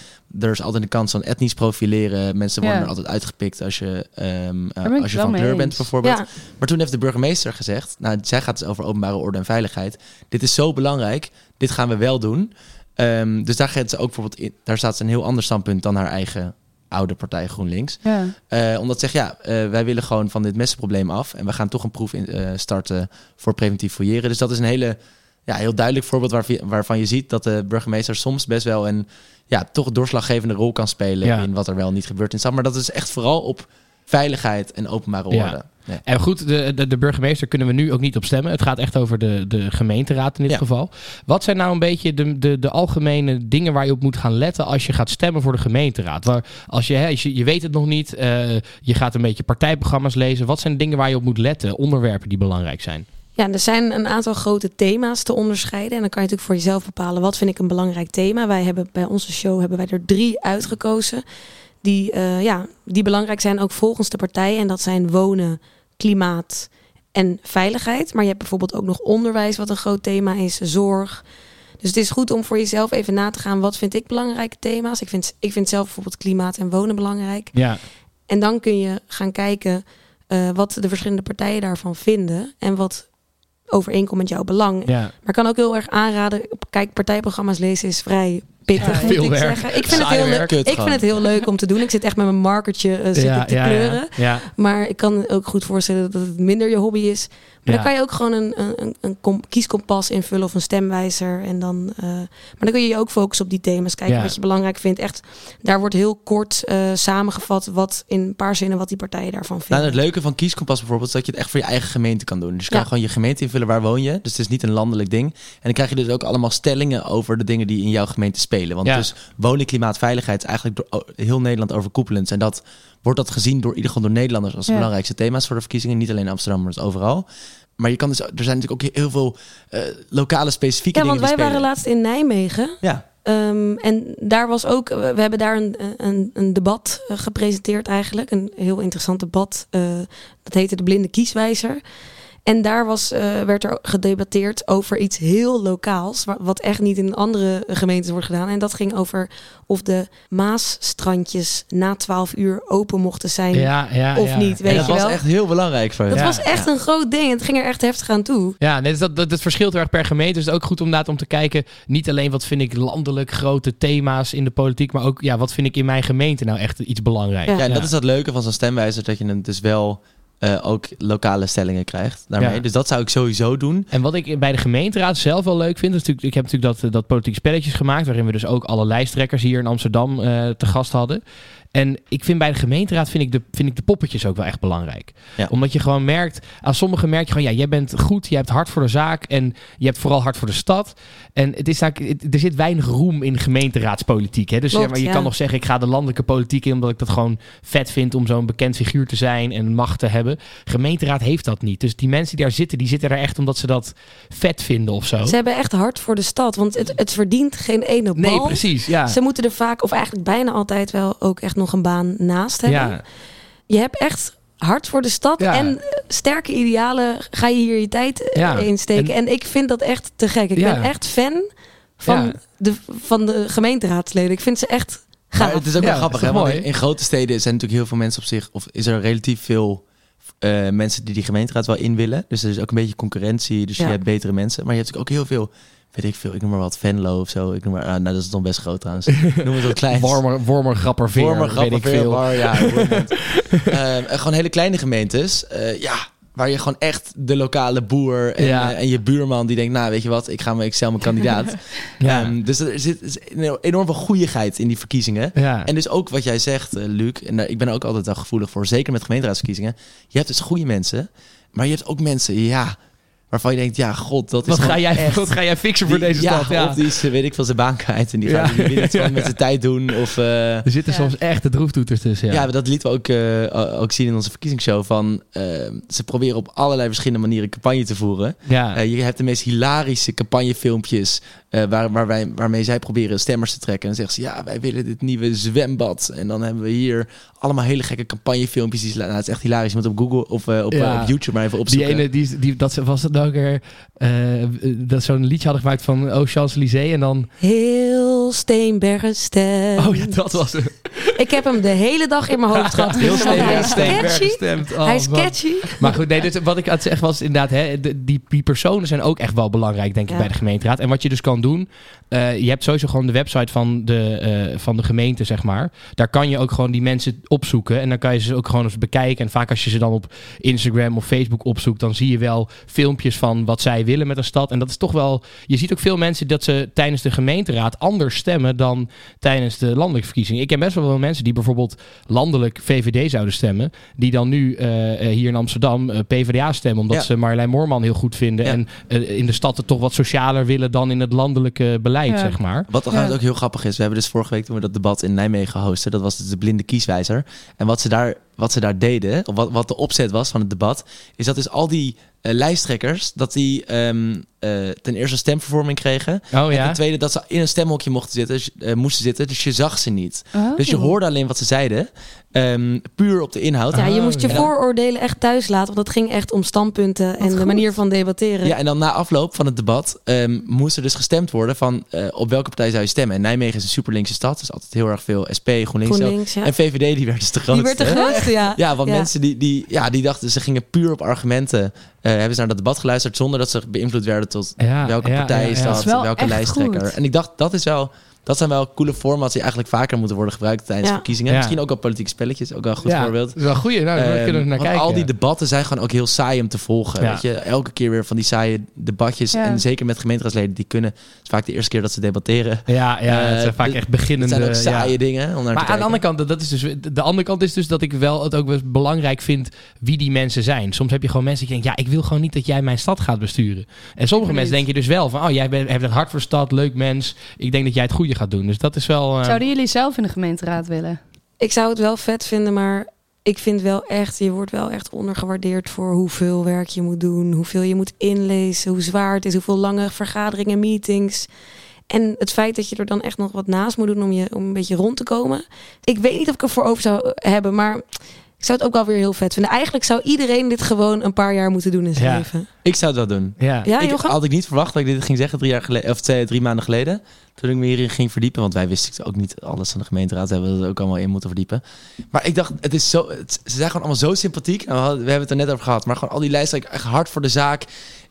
er is altijd een kans van etnisch profileren. Mensen worden Ja. er altijd uitgepikt als je, ehm, eh, ben ik als je wel van mee kleur eens. bent, bijvoorbeeld. Ja. Maar toen heeft de burgemeester gezegd, nou, zij gaat dus over openbare orde en veiligheid. Dit is zo belangrijk, dit gaan we wel doen. Ehm, dus daar, gaat ze ook bijvoorbeeld in, daar staat ze een heel ander standpunt dan haar eigen oude partij GroenLinks. Ja. Eh, omdat ze zeggen, ja, eh, wij willen gewoon van dit messenprobleem af. En we gaan toch een proef in, eh, starten voor preventief fouilleren. Dus dat is een hele, ja, heel duidelijk voorbeeld waar, waarvan je ziet dat de burgemeester soms best wel een ja, toch doorslaggevende rol kan spelen Ja. in wat er wel niet gebeurt in de stad. Maar dat is echt vooral op veiligheid en openbare orde. Ja. Ja. Nee. En goed, de, de, de burgemeester kunnen we nu ook niet op stemmen. Het gaat echt over de, de gemeenteraad in dit Ja. geval. Wat zijn nou een beetje de, de, de algemene dingen waar je op moet gaan letten als je gaat stemmen voor de gemeenteraad? Waar, als je, hè, als je, je weet het nog niet, eh, je gaat een beetje partijprogramma's lezen. Wat zijn de dingen waar je op moet letten? Onderwerpen die belangrijk zijn? Ja, er zijn een aantal grote thema's te onderscheiden. En dan kan je natuurlijk voor jezelf bepalen wat vind ik een belangrijk thema. Wij hebben bij onze show hebben wij er drie uitgekozen. Die, eh, ja, die belangrijk zijn ook volgens de partij. En dat zijn wonen, klimaat en veiligheid. Maar je hebt bijvoorbeeld ook nog onderwijs, wat een groot thema is, zorg. Dus het is goed om voor jezelf even na te gaan. Wat vind ik belangrijke thema's? Ik vind, ik vind zelf bijvoorbeeld klimaat en wonen belangrijk. Ja, En dan kun je gaan kijken eh, wat de verschillende partijen daarvan vinden en wat overeenkomt met jouw belang. ja. Maar ik kan ook heel erg aanraden, kijk, partijprogramma's lezen is vrij pittig, Ja, moet veel ik werk. zeggen. Ik vind, het Saai heel leuk. werk. Kut ik vind gewoon. het heel leuk om te doen. Ik zit echt met mijn markertje eh, zit ja, ik te kleuren. ja. Maar ik kan ook goed voorstellen dat het minder je hobby is. Maar Ja. dan kan je ook gewoon een, een, een, een kom- kieskompas invullen of een stemwijzer. En dan, eh, maar dan kun je je ook focussen op die thema's. Kijken Ja. wat je belangrijk vindt. Echt, daar wordt heel kort eh, samengevat wat in een paar zinnen wat die partijen daarvan Nou, vinden. en het leuke van Kieskompas bijvoorbeeld is dat je het echt voor je eigen gemeente kan doen. Dus je kan Ja. gewoon je gemeente invullen waar woon je. Dus het is niet een landelijk ding. En dan krijg je dus ook allemaal stellingen over de dingen die in jouw gemeente spelen. Want Ja. dus wonen, klimaat, veiligheid is eigenlijk door o- heel Nederland overkoepelend. En dat wordt dat gezien door in ieder geval door Nederlanders als de Ja. belangrijkste thema's voor de verkiezingen. Niet alleen in Amsterdam, maar dus overal. Maar je kan dus, er zijn natuurlijk ook heel veel eh, lokale specifieke ja, dingen want wij die waren spelen. laatst in Nijmegen. Ja, Ehm, en daar was ook, we we hebben daar een, een, een debat eh, gepresenteerd eigenlijk. Een heel interessant debat. eh, dat heette De Blinde Kieswijzer. En daar was, eh, werd er gedebatteerd over iets heel lokaals. wa- Wat echt niet in andere gemeentes wordt gedaan. En dat ging over of de Maasstrandjes na 12 uur open mochten zijn. Ja, ja, Of ja. niet, Ja, en weet je dat was wel. echt heel belangrijk voor Dat je. Ja. was echt een groot ding. Het ging er echt heftig aan toe. Ja, net als dat, dat, dat verschilt heel erg per gemeente. Dus het is ook goed om, inderdaad om te kijken, niet alleen wat vind ik landelijk grote thema's in de politiek, maar ook ja, wat vind ik in mijn gemeente nou echt iets belangrijks. Ja. Ja, en dat is dat leuke van zo'n stemwijzer, dat je hem dus wel eh, ook lokale stellingen krijgt daarmee. Ja. Dus dat zou ik sowieso doen. En wat ik bij de gemeenteraad zelf wel leuk vind, is natuurlijk, ik heb natuurlijk dat, eh, dat politiek spelletjes gemaakt, waarin we dus ook alle lijsttrekkers hier in Amsterdam eh, te gast hadden. En ik vind bij de gemeenteraad vind ik de, vind ik de poppetjes ook wel echt belangrijk. Ja. Omdat je gewoon merkt, aan sommigen merk je gewoon, ja, jij bent goed, je hebt hart voor de zaak en je hebt vooral hart voor de stad. En het is eigenlijk, het- er zit weinig roem in gemeenteraadspolitiek. Hè? Dus Klopt, ja, maar je ja. kan nog zeggen, ik ga de landelijke politiek in, omdat ik dat gewoon vet vind om zo'n bekend figuur te zijn en macht te hebben. Gemeenteraad heeft dat niet. Dus die mensen die daar zitten, die zitten daar echt omdat ze dat vet vinden of zo. Ze hebben echt hard voor de stad. Want het, het verdient geen ene bal. Nee, precies. Ja. Ze moeten er vaak, of eigenlijk bijna altijd wel, ook echt nog een baan naast hebben. Ja. Je hebt echt hart voor de stad Ja. en eh, sterke idealen ga je hier je tijd eh, Ja. in steken. En, ik vind dat echt te gek. Ik Ja. ben echt fan van, Ja. de, van de gemeenteraadsleden. Ik vind ze echt Maar gaaf. het is ook Ja, wel grappig, is hè? toch Want mooi? in, in grote steden zijn natuurlijk heel veel mensen op zich, of is er relatief veel eh, mensen die die gemeenteraad wel in willen. Dus er is ook een beetje concurrentie, dus Ja. je hebt betere mensen. Maar je hebt natuurlijk ook heel veel, weet ik veel, ik noem maar wat, Venlo of zo. Ik noem maar, ah, nou dat is dan best groot trouwens. Ik noem het wat klein. Wormer, wormer, grapper, veer, Vormer, weet grappig, ik veel. Waar, ja, hoe je het noemt. Ehm, en gewoon hele kleine gemeentes. eh, ja, waar je gewoon echt de lokale boer en, Ja. eh, en je buurman die denkt, nou weet je wat, ik ga me Excel mijn kandidaat. Ja. Ehm, dus er zit is een enorm veel goeieheid in die verkiezingen. Ja. En dus ook wat jij zegt, eh, Luc, en daar- ik ben er ook altijd wel gevoelig voor, zeker met gemeenteraadsverkiezingen. Je hebt dus goede mensen, maar je hebt ook mensen, ja, waarvan je denkt, ja, god, dat is wat, ga gewoon jij, echt- wat ga jij fixen voor die- deze ja, stad? Ja. Of die is, eh, weet ik veel, zijn baan kwijt en die gaat Ja. die wil het gewoon met zijn tijd doen. Of, eh, Er zitten Ja. soms echt de droeftoeters tussen. ja, Ja. maar dat lieten we ook, eh, ook zien in onze verkiezingsshow. Van, eh, ze proberen op allerlei verschillende manieren campagne te voeren. Ja. Eh, je hebt de meest hilarische campagnefilmpjes eh, waar, waar wij, waarmee zij proberen stemmers te trekken. En dan zeggen ze, ja, wij willen dit nieuwe zwembad. En dan hebben we hier allemaal hele gekke campagnefilmpjes. Die ze, la- nou, het is echt hilarisch. Je moet op Google of eh, op, eh, Ja. op YouTube maar even Die opzoeken. ene, die, die, dat ze- was het nou ook weer, eh, dat ze zo'n liedje hadden gemaakt van Oh Champs-Élysées en dan... Heel Steenbergen stem. Oh ja, dat was het. Ik heb hem de hele dag in mijn hoofd gehad. Heel Want hij is Steenbergen catchy. gestemd. Oh, Hij is man. catchy. Maar goed, nee, dus wat ik aan het zeggen was inderdaad, hè, de- die, die personen zijn ook echt wel belangrijk, denk ik, Ja. bij de gemeenteraad. En wat je dus kan doen, eh, je hebt sowieso gewoon de website van de, eh, van de gemeente, zeg maar. Daar kan je ook gewoon die mensen opzoeken en dan kan je ze ook gewoon eens bekijken. En vaak als je ze dan op Instagram of Facebook opzoekt, dan zie je wel filmpjes van wat zij willen met een stad. En dat is toch wel, je ziet ook veel mensen dat ze tijdens de gemeenteraad anders stemmen dan tijdens de landelijke verkiezingen. Ik ken best wel veel mensen die bijvoorbeeld landelijk VVD zouden stemmen, die dan nu eh, eh, hier in Amsterdam eh, PvdA stemmen, omdat Ja. ze Marjolein Moorman heel goed vinden Ja. en eh, in de stad het toch wat socialer willen dan in het landelijke beleid, Ja. zeg maar. Wat dan ook heel grappig is, we hebben dus vorige week toen we dat debat in Nijmegen hosten, dat was dus de blinde kieswijzer. En wat ze daar, wat ze daar deden, of wat, wat de opzet was van het debat, is dat dus al die eh, lijsttrekkers, dat die ehm, eh, ten eerste stemvervorming kregen. Oh En ja. ten tweede dat ze in een stemhokje mochten zitten, dus, eh, moesten zitten, dus je zag ze niet. Oh. Dus je hoorde alleen wat ze zeiden, ehm, puur op de Oh, inhoud. Ja, je moest je Ja. vooroordelen echt thuis laten. Want dat ging echt om standpunten en de goed. manier van debatteren. Ja, en dan na afloop van het debat ehm, moest er dus gestemd worden van eh, op welke partij zou je stemmen. En Nijmegen is een superlinkse stad, dus altijd heel erg veel SP, GroenLinks. ook. GroenLinks, ja. En VVD die werd dus de Die grootste. werd de grootste, ja. ja, want mensen die, die, ja, die dachten, ze gingen puur op argumenten. eh, hebben ze naar dat debat geluisterd zonder dat ze beïnvloed werden tot Ja, welke ja, partij ja, is ja. dat, Dat is wel welke echt lijsttrekker. goed. En ik dacht, dat, is wel, dat zijn wel coole formats die eigenlijk vaker moeten worden gebruikt tijdens Ja. verkiezingen. Ja. Misschien ook wel politieke spelletjes, ook wel een goed ja, voorbeeld. Dat is wel een goeie. Nou, daar Ehm, kunnen we naar want kijken. al die ja. debatten zijn gewoon ook heel saai om te volgen. Ja. Weet je? Elke keer weer van die saaie debatjes. Ja. En zeker met gemeenteraadsleden, die kunnen... Het is vaak de eerste keer dat ze debatteren. Ja, ja het zijn Eh, vaak dit- echt Het beginnende... zijn ook saaie ja. dingen om naar Maar te kijken. aan de andere kant, dat- dat is dus, de andere kant is dus dat ik wel het ook wel eens belangrijk vind wie die mensen zijn. Soms heb je gewoon mensen die denken, ja, ik wil gewoon niet dat jij mijn stad gaat besturen. En sommige mensen denken dus wel van, oh, jij bent, hebt een hart voor stad, leuk mens. Ik denk dat jij het goede gaat doen. Dus dat is wel... eh, Zouden jullie zelf in de gemeenteraad willen? Ik zou het wel vet vinden, maar ik vind wel echt, je wordt wel echt ondergewaardeerd voor hoeveel werk je moet doen, hoeveel je moet inlezen, hoe zwaar het is, hoeveel lange vergaderingen, meetings. En het feit dat je er dan echt nog wat naast moet doen om, je, om een beetje rond te komen. Ik weet niet of ik er voor over zou hebben, maar ik zou het ook wel weer heel vet vinden. Eigenlijk zou iedereen dit gewoon een paar jaar moeten doen in zijn Ja. leven. Ik zou dat doen. ja. Ja, ik Johan? had ik niet verwacht dat ik dit ging zeggen drie, jaar geleden, of twee, drie maanden geleden. Toen ik me hierin ging verdiepen. Want wij wisten dus ook niet alles van de gemeenteraad. We hebben we er ook allemaal in moeten verdiepen. Maar ik dacht, het is zo, het- ze zijn gewoon allemaal zo sympathiek. En we, hadden- we hebben het er net over gehad. Maar gewoon al die lijsten, echt hard voor de zaak.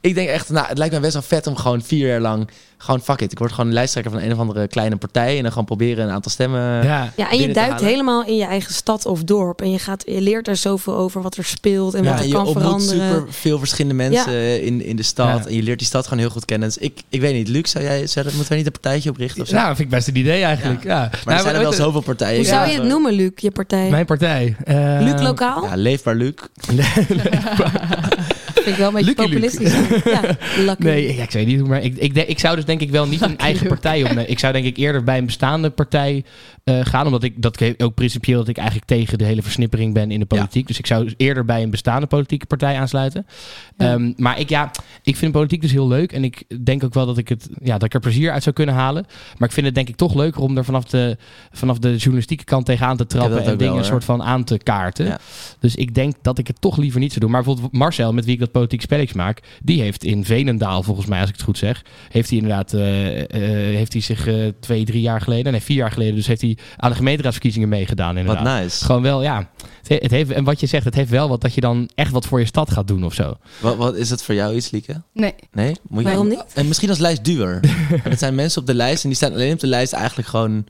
Ik denk echt, nou, het lijkt me best wel vet om gewoon vier jaar lang... Gewoon fuck it, ik word gewoon lijsttrekker van een of andere kleine partij. En dan gewoon proberen een aantal stemmen... Ja. Ja, en je binnen te duikt halen. helemaal in je eigen stad of dorp. En je, gaat, je leert daar zoveel over wat er speelt en Ja, wat en er je kan ontmoet veranderen. super veel verschillende mensen in, in de stad. Ja. En je leert die stad gewoon heel goed kennen. Dus ik, ik weet niet, Luc, zou jij, zou, dat- moeten wij niet een partijtje oprichten of zo? Nou, vind ik best een idee eigenlijk. Ja. Maar er Nou, zijn er wel weet- zoveel partijen. Hoe Ja. zou je het noemen, Luc, je partij? Mijn partij. eh, Luc Lokaal? Ja, leefbaar Luc. vind ik wel een beetje Lucky Luke. populistisch. ja, lucky. Nee, ja, ik weet niet hoe, maar ik, ik, denk- ik zou dus denk ik wel niet een eigen partij opnemen. Ik zou denk ik eerder bij een bestaande partij eh, gaan, omdat ik dat ik ook principieel dat ik eigenlijk tegen de hele versnippering ben in de politiek. Dus ik zou dus eerder bij een bestaande politieke partij aansluiten. Ja. Ehm, maar ik, ja, ik vind politiek dus heel leuk en ik denk ook wel dat ik, het, ja, dat ik er plezier uit zou kunnen halen. Maar ik vind het denk ik toch leuker om er vanaf de, vanaf de journalistieke kant tegenaan te Ja, trappen dat en ook dingen wel, een hè? soort van aan te kaarten. Ja. Dus ik denk dat ik het toch liever niet zou doen. Maar bijvoorbeeld Marcel, met wie ik dat politiek spelletje maak, die heeft in Venendaal, volgens mij, als ik het goed zeg, heeft hij inderdaad, eh, eh, heeft hij zich eh, twee, drie jaar geleden, nee, vier jaar geleden, dus heeft hij aan de gemeenteraadsverkiezingen meegedaan. Wat Inderdaad. nice. Gewoon wel, ja. Het he- het heeft, en wat je zegt, het heeft wel wat dat je dan echt wat voor je stad gaat doen of zo. Wat, wat is dat voor jou iets, Lieke? Nee. Nee? Moet je- Waarom niet? En misschien als lijstduwer. Want het zijn mensen op de lijst en die staan alleen op de lijst eigenlijk gewoon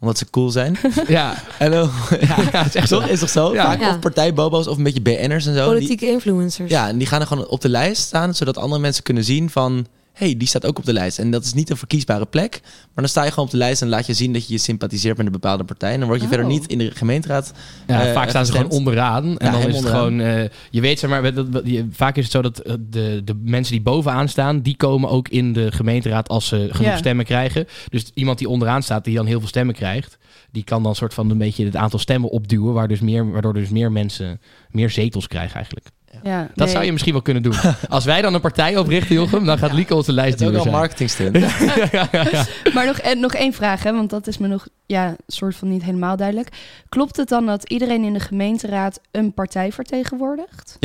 omdat ze cool zijn. Ja, En dan, ja, ja, het is echt zo. toch? Is toch zo? Ja. Vaak Ja. of partijbobo's of een beetje BN'ers en zo. Die- Politieke influencers. Ja, en die gaan er gewoon op de lijst staan, zodat andere mensen kunnen zien van... hey, die staat ook op de lijst. En dat is niet een verkiesbare plek. Maar dan sta je gewoon op de lijst en laat je zien dat je je sympathiseert met een bepaalde partij. En dan word je Oh. verder niet in de gemeenteraad. Ja, eh, vaak staan ze gestemd. gewoon onderaan. En Ja, dan is helemaal het onderaan. gewoon, eh, je weet zeg maar, dat- dat, dat- je- vaak is het zo dat eh, de, de mensen die bovenaan staan, die komen ook in de gemeenteraad als ze genoeg Ja. stemmen krijgen. Dus iemand die onderaan staat, die dan heel veel stemmen krijgt, die kan dan soort van een beetje het aantal stemmen opduwen, waar dus meer, waardoor dus meer mensen meer zetels krijgen eigenlijk. Ja. Dat zou je misschien wel kunnen doen. Als wij dan een partij oprichten, Jochem, dan gaat Lieke onze Het is ook lijstduwer wel een zijn. marketingstunt. Maar nog, en, nog één vraag, hè, want dat is me nog ja, soort van niet helemaal duidelijk. Klopt het dan dat iedereen in de gemeenteraad een partij vertegenwoordigt?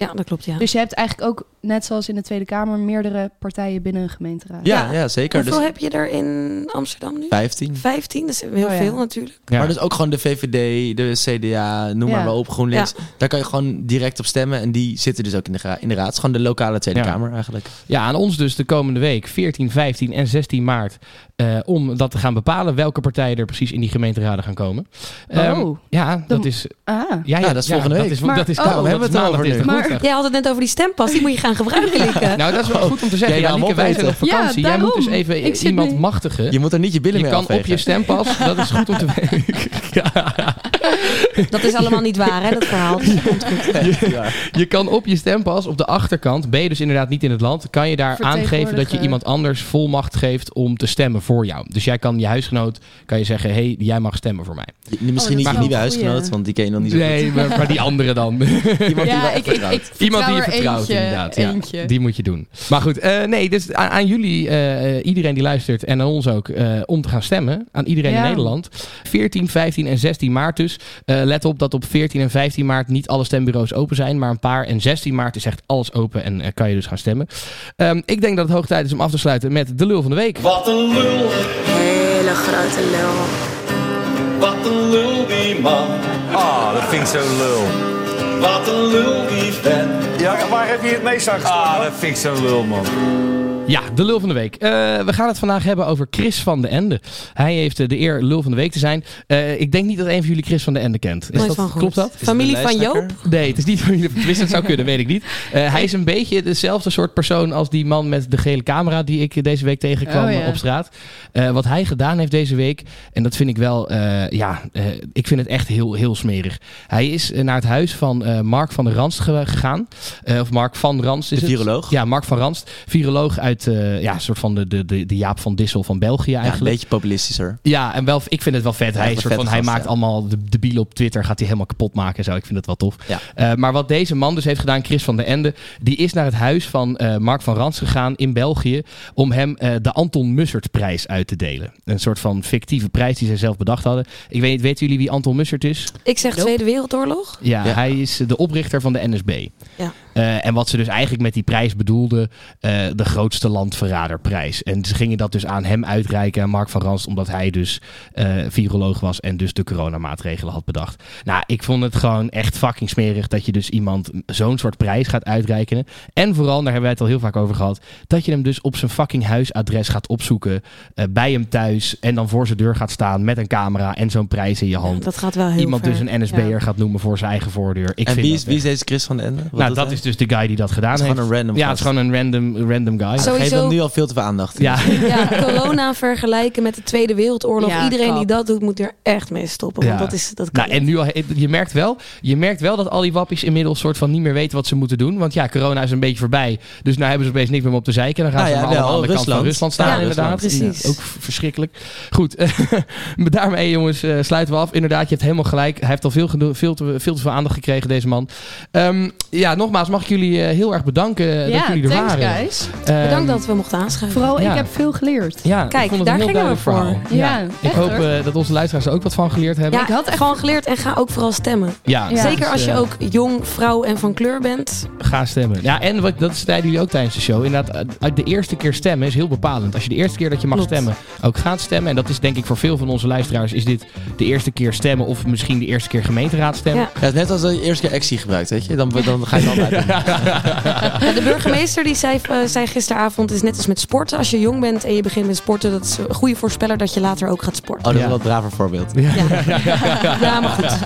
Ja, dat klopt, ja. Dus je hebt eigenlijk ook, net zoals in de Tweede Kamer, meerdere partijen binnen een gemeenteraad. Ja, ja, zeker. Hoeveel Dus heb je er in Amsterdam nu? 15. Vijftien, dat is heel Oh, ja. veel natuurlijk. Ja. Maar dus ook gewoon de VVD, de CDA, noem maar Ja. maar op, GroenLinks. Daar kan je gewoon direct op stemmen. En die zitten dus ook in de, gra- in de raad. Het is gewoon de lokale Tweede Ja. Kamer eigenlijk. Ja, aan ons dus de komende week, 14, 15 en 16 maart, eh, om dat te gaan bepalen welke partijen er precies in die gemeenteraden gaan komen. Ehm, Oh. ja, dat Dan- is, Ah. ja, ja, dat is volgende Nou, dat week. is, Maar- dat is, oh, daarom hebben we het maandag over nu. dinsdag, Maar- woensdag. Jij had het net over die stempas, die moet je gaan gebruikelijke. Nou, dat is wel goed om te zeggen. Jij Ja, wil hem Lieke, wij zijn op opeten. vakantie. Ja, Jij moet dus daarom. Ik even zit iemand nu- machtigen. Je moet er niet je billen Je mee kan op afvegen. je stempas, dat is goed om te weten. Dat is allemaal niet waar, hè, dat verhaal. Dus dat komt goed. Ja. Je kan op je stempas, op de achterkant, ben je dus inderdaad niet in het land, kan je daar aangeven dat je Vertegenwoordiger. iemand anders volmacht geeft om te stemmen voor jou. Dus jij kan je huisgenoot, kan je zeggen, hé, hey, jij mag stemmen voor mij. Misschien is niet je wel nieuwe een goeie. huisgenoot, want die ken je nog niet zo goed. Nee, maar, maar die andere dan. Iemand die Ja, wel ik, ik, ik Iemand die je vertrouw er vertrouwt, eentje, inderdaad. Ja, eentje. die moet je doen. Maar goed, eh, nee, dus aan, aan jullie, eh, eh, iedereen die luistert en aan ons ook, eh, om te gaan stemmen. Aan iedereen in Ja. Nederland. 14, 15 en 16 maart dus. Eh, let op dat op 14 en 15 maart niet alle stembureaus open zijn, maar een paar. En 16 maart is echt alles open en eh, kan je dus gaan stemmen. Ehm, ik denk dat het hoog tijd is om af te sluiten met de lul van de week. Wat een lul, Hele grote lul. wat een lul die man. Ah, dat vind ik zo lul. Wat een lul die vent. Ja, waar heb je het meest aan Ah, dat vind ik zo lul, man. Ja, de lul van de week. Eh, we gaan het vandaag hebben over Chris van de Ende. Hij heeft eh, de eer lul van de week te zijn. Eh, ik denk niet dat een van jullie Chris van de Ende kent. Is Nooit dat- van gehoord. klopt dat? Is Familie het een van Joop? lijsttrekker? Nee, het is niet van jullie. Tenminste, het zou kunnen, weet ik niet. Eh, hij is een beetje dezelfde soort persoon als die man met de gele camera die ik deze week tegenkwam Oh, ja. op straat. Eh, wat hij gedaan heeft deze week, en dat vind ik wel, eh, ja, eh, ik vind het echt heel, heel smerig. Hij is eh, naar het huis van eh, Mark van der Randst ge- gegaan. Eh, of Mark van Randst is De het? viroloog. Ja, Mark van Randst. Viroloog uit, eh, ja, een soort van de, de, de, de Jaap van Dissel van België Ja, een eigenlijk. beetje populistischer. Ja, en wel, ik vind het wel vet. Hij, Echt is een soort van, vette hij gast, maakt ja. allemaal de, de bielen op Twitter. Gaat hij helemaal kapot maken en zo. Ik vind dat wel tof. Ja. Eh, maar wat deze man dus heeft gedaan, Chris van der Ende... die is naar het huis van eh, Mark van Rans gegaan in België... om hem eh, de Anton Mussert-prijs uit te delen. Een soort van fictieve prijs die zij zelf bedacht hadden. Ik weet niet, weten jullie wie Anton Mussert is? Ik zeg Tweede Wereldoorlog. Ja, Ja. hij is de oprichter van de NSB. Ja. Eh, en wat ze dus eigenlijk met die prijs bedoelde, eh, de grootste landverraderprijs. En ze gingen dat dus aan hem uitreiken, aan Mark van Ranst, omdat hij dus eh, viroloog was en dus de coronamaatregelen had bedacht. Nou, ik vond het gewoon echt fucking smerig dat je dus iemand zo'n soort prijs gaat uitreiken. En vooral, daar hebben wij het al heel vaak over gehad, dat je hem dus op zijn fucking huisadres gaat opzoeken, eh, bij hem thuis en dan voor zijn deur gaat staan met een camera en zo'n prijs in je hand. Dat gaat wel heel Iemand ver. dus een NSB'er gaat noemen voor zijn eigen voordeur. Ik en vind wie dat is, wie is echt- deze Chris van den Ende? Wat nou, doet dat hij? is dus de guy die dat gedaan Het is heeft. gewoon een random Ja, het gast. is gewoon een random, random guy. Zo- Geef Sowieso- hem nu al veel te veel aandacht. Ja, Ja, corona vergelijken met de Tweede Wereldoorlog. Ja, Iedereen die kap. dat doet, moet er echt mee stoppen. Want Ja. dat, is, dat kan nou, en nu al, je, merkt wel, je merkt wel dat al die wappies inmiddels soort van niet meer weten wat ze moeten doen. Want ja, corona is een beetje voorbij. Dus nu hebben ze opeens niks meer om op te zeiken. Dan gaan Nou ze ja, maar allemaal wel, aan de kant van Rusland. Rusland staan Ja, inderdaad. Rusland, precies. Ja, ook v- verschrikkelijk. Goed, eh, maar daarmee jongens eh, sluiten we af. Inderdaad, je hebt helemaal gelijk. Hij heeft al veel, gedo- veel, te, veel te veel aandacht gekregen, deze man. Ehm, ja, nogmaals mag ik jullie eh, heel erg bedanken eh, dat ja, jullie er thanks waren. guys. Ehm, Bedankt dat we mochten aanschuiven. Vooral, Ja. ik heb veel geleerd. Ja, Kijk, ik vond het daar een heel gingen we duidelijk voor. verhaal. Ja, ik echt, hoop hoor. eh, dat onze luisteraars er ook wat van geleerd hebben. Ja, ik had echt gewoon geleerd en ga ook vooral stemmen. Ja, Ja. Zeker dus, als je eh, ook jong, vrouw en van kleur bent. Ga stemmen. Ja, en wat, dat zeiden jullie ook tijdens de show. Inderdaad, eh, de eerste keer stemmen is heel bepalend. Als je de eerste keer dat je mag Klopt. stemmen ook gaat stemmen. En dat is denk ik voor veel van onze luisteraars. Is dit de eerste keer stemmen of misschien de eerste keer gemeenteraad stemmen? Ja. Ja, het is net als dat je eerst keer actie gebruikt, weet je? Dan, dan ga je dan uit. Ja, de burgemeester die zei, eh, zei gisteravond, is net als met sporten. Als je jong bent en je begint met sporten, dat is een goede voorspeller dat je later ook gaat sporten. Oh, dat is Ja. wel een braver voorbeeld. Ja, maar goed.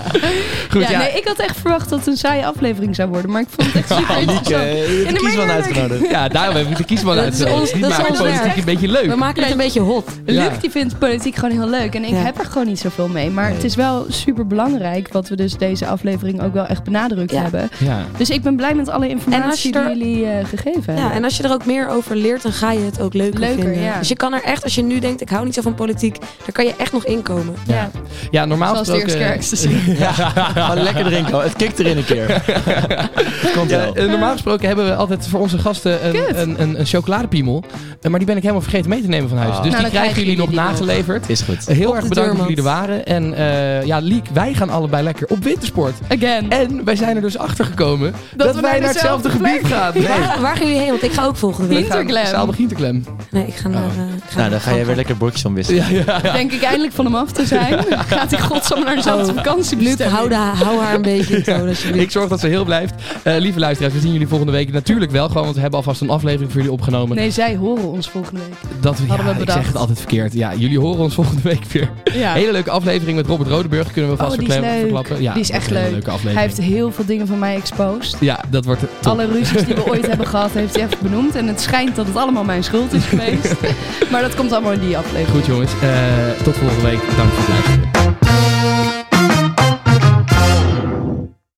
Goed, ja, nee, ik had echt verwacht dat het een saaie aflevering zou worden, maar ik vond het echt super interessant. de maar kiesman ja, uitgenodigd. Ja, daarom hebben we de kiesman Dat is ons- uitgenodigd. Die dat is maken ons politiek werk. een beetje We leuk. maken het een beetje hot. Ja. Luc die vindt politiek gewoon heel leuk en ik Ja. heb er gewoon niet zoveel mee. Maar het is wel super belangrijk wat we dus deze aflevering ook wel echt benadrukt Ja. hebben. Ja. Dus ik ben blij met alle informatie En als je die jullie eh, gegeven Ja, hebben. en als je er ook meer over leert, dan ga je het ook leuker, Leuker, vinden. ja. Dus je kan er echt, als je nu denkt, ik hou niet zo van politiek, daar kan je echt nog inkomen. Ja. ja, normaal Zoals de gesproken... eerste keer te zien. Gewoon lekker erin komen. Het kikt erin een keer. Het Komt Ja, wel. eh, normaal gesproken hebben we altijd voor onze gasten een, een, een, een chocoladepiemel. Eh, Maar die ben ik helemaal vergeten mee te nemen van huis. Ah. Dus die Nou, dan krijgen krijgen jullie nog jullie die nog. nageleverd. Is goed. Heel Op erg de bedankt dat deurmat. jullie er waren. En eh, ja, Liek, wij gaan allebei lekker op wintersport. Dus Again. En wij zijn er dus achter gekomen dat, we wij naar naar hetzelfde dezelfde gebied gaan. Nee. Waar, waar gaan jullie heen? Want ik ga ook volgende Wij week. gaan Hinterklem. massaal naar Hinterklem. Nee, ik ga naar... eh, ik ga Nou, dan ga je naar- weer lekker bordjes omwisselen. Ja, ja. Denk ik eindelijk van hem af te zijn. Gaat hij godsam naar dezelfde Oh, vakantie Luc, hou, bestellen? de- hou haar een beetje in toon, alsjeblieft. Ik zorg dat ze heel blijft. Eh, lieve luisteraars, we zien jullie volgende week natuurlijk wel. Gewoon, want we hebben alvast een aflevering voor jullie opgenomen. Nee, zij horen ons volgende week. dat we, ja, hadden we ik bedacht. zeg het altijd verkeerd. Ja, jullie horen ons volgende week weer. Ja. Hele leuke aflevering met Robert Rodenburg. Kunnen we vast Oh, die is verklem- leuk. verklappen. Ja, Die is dat echt een hele leuk. leuke aflevering. Hij heeft heel veel dingen van mij exposed. Ja, dat dat wordt top. Alle ruzies die we ooit hebben gehad, heeft hij even benoemd. En het schijnt dat het allemaal mijn schuld is geweest. maar dat komt allemaal in die aflevering. Goed jongens, Eh, tot volgende week. Dank voor het luisteren.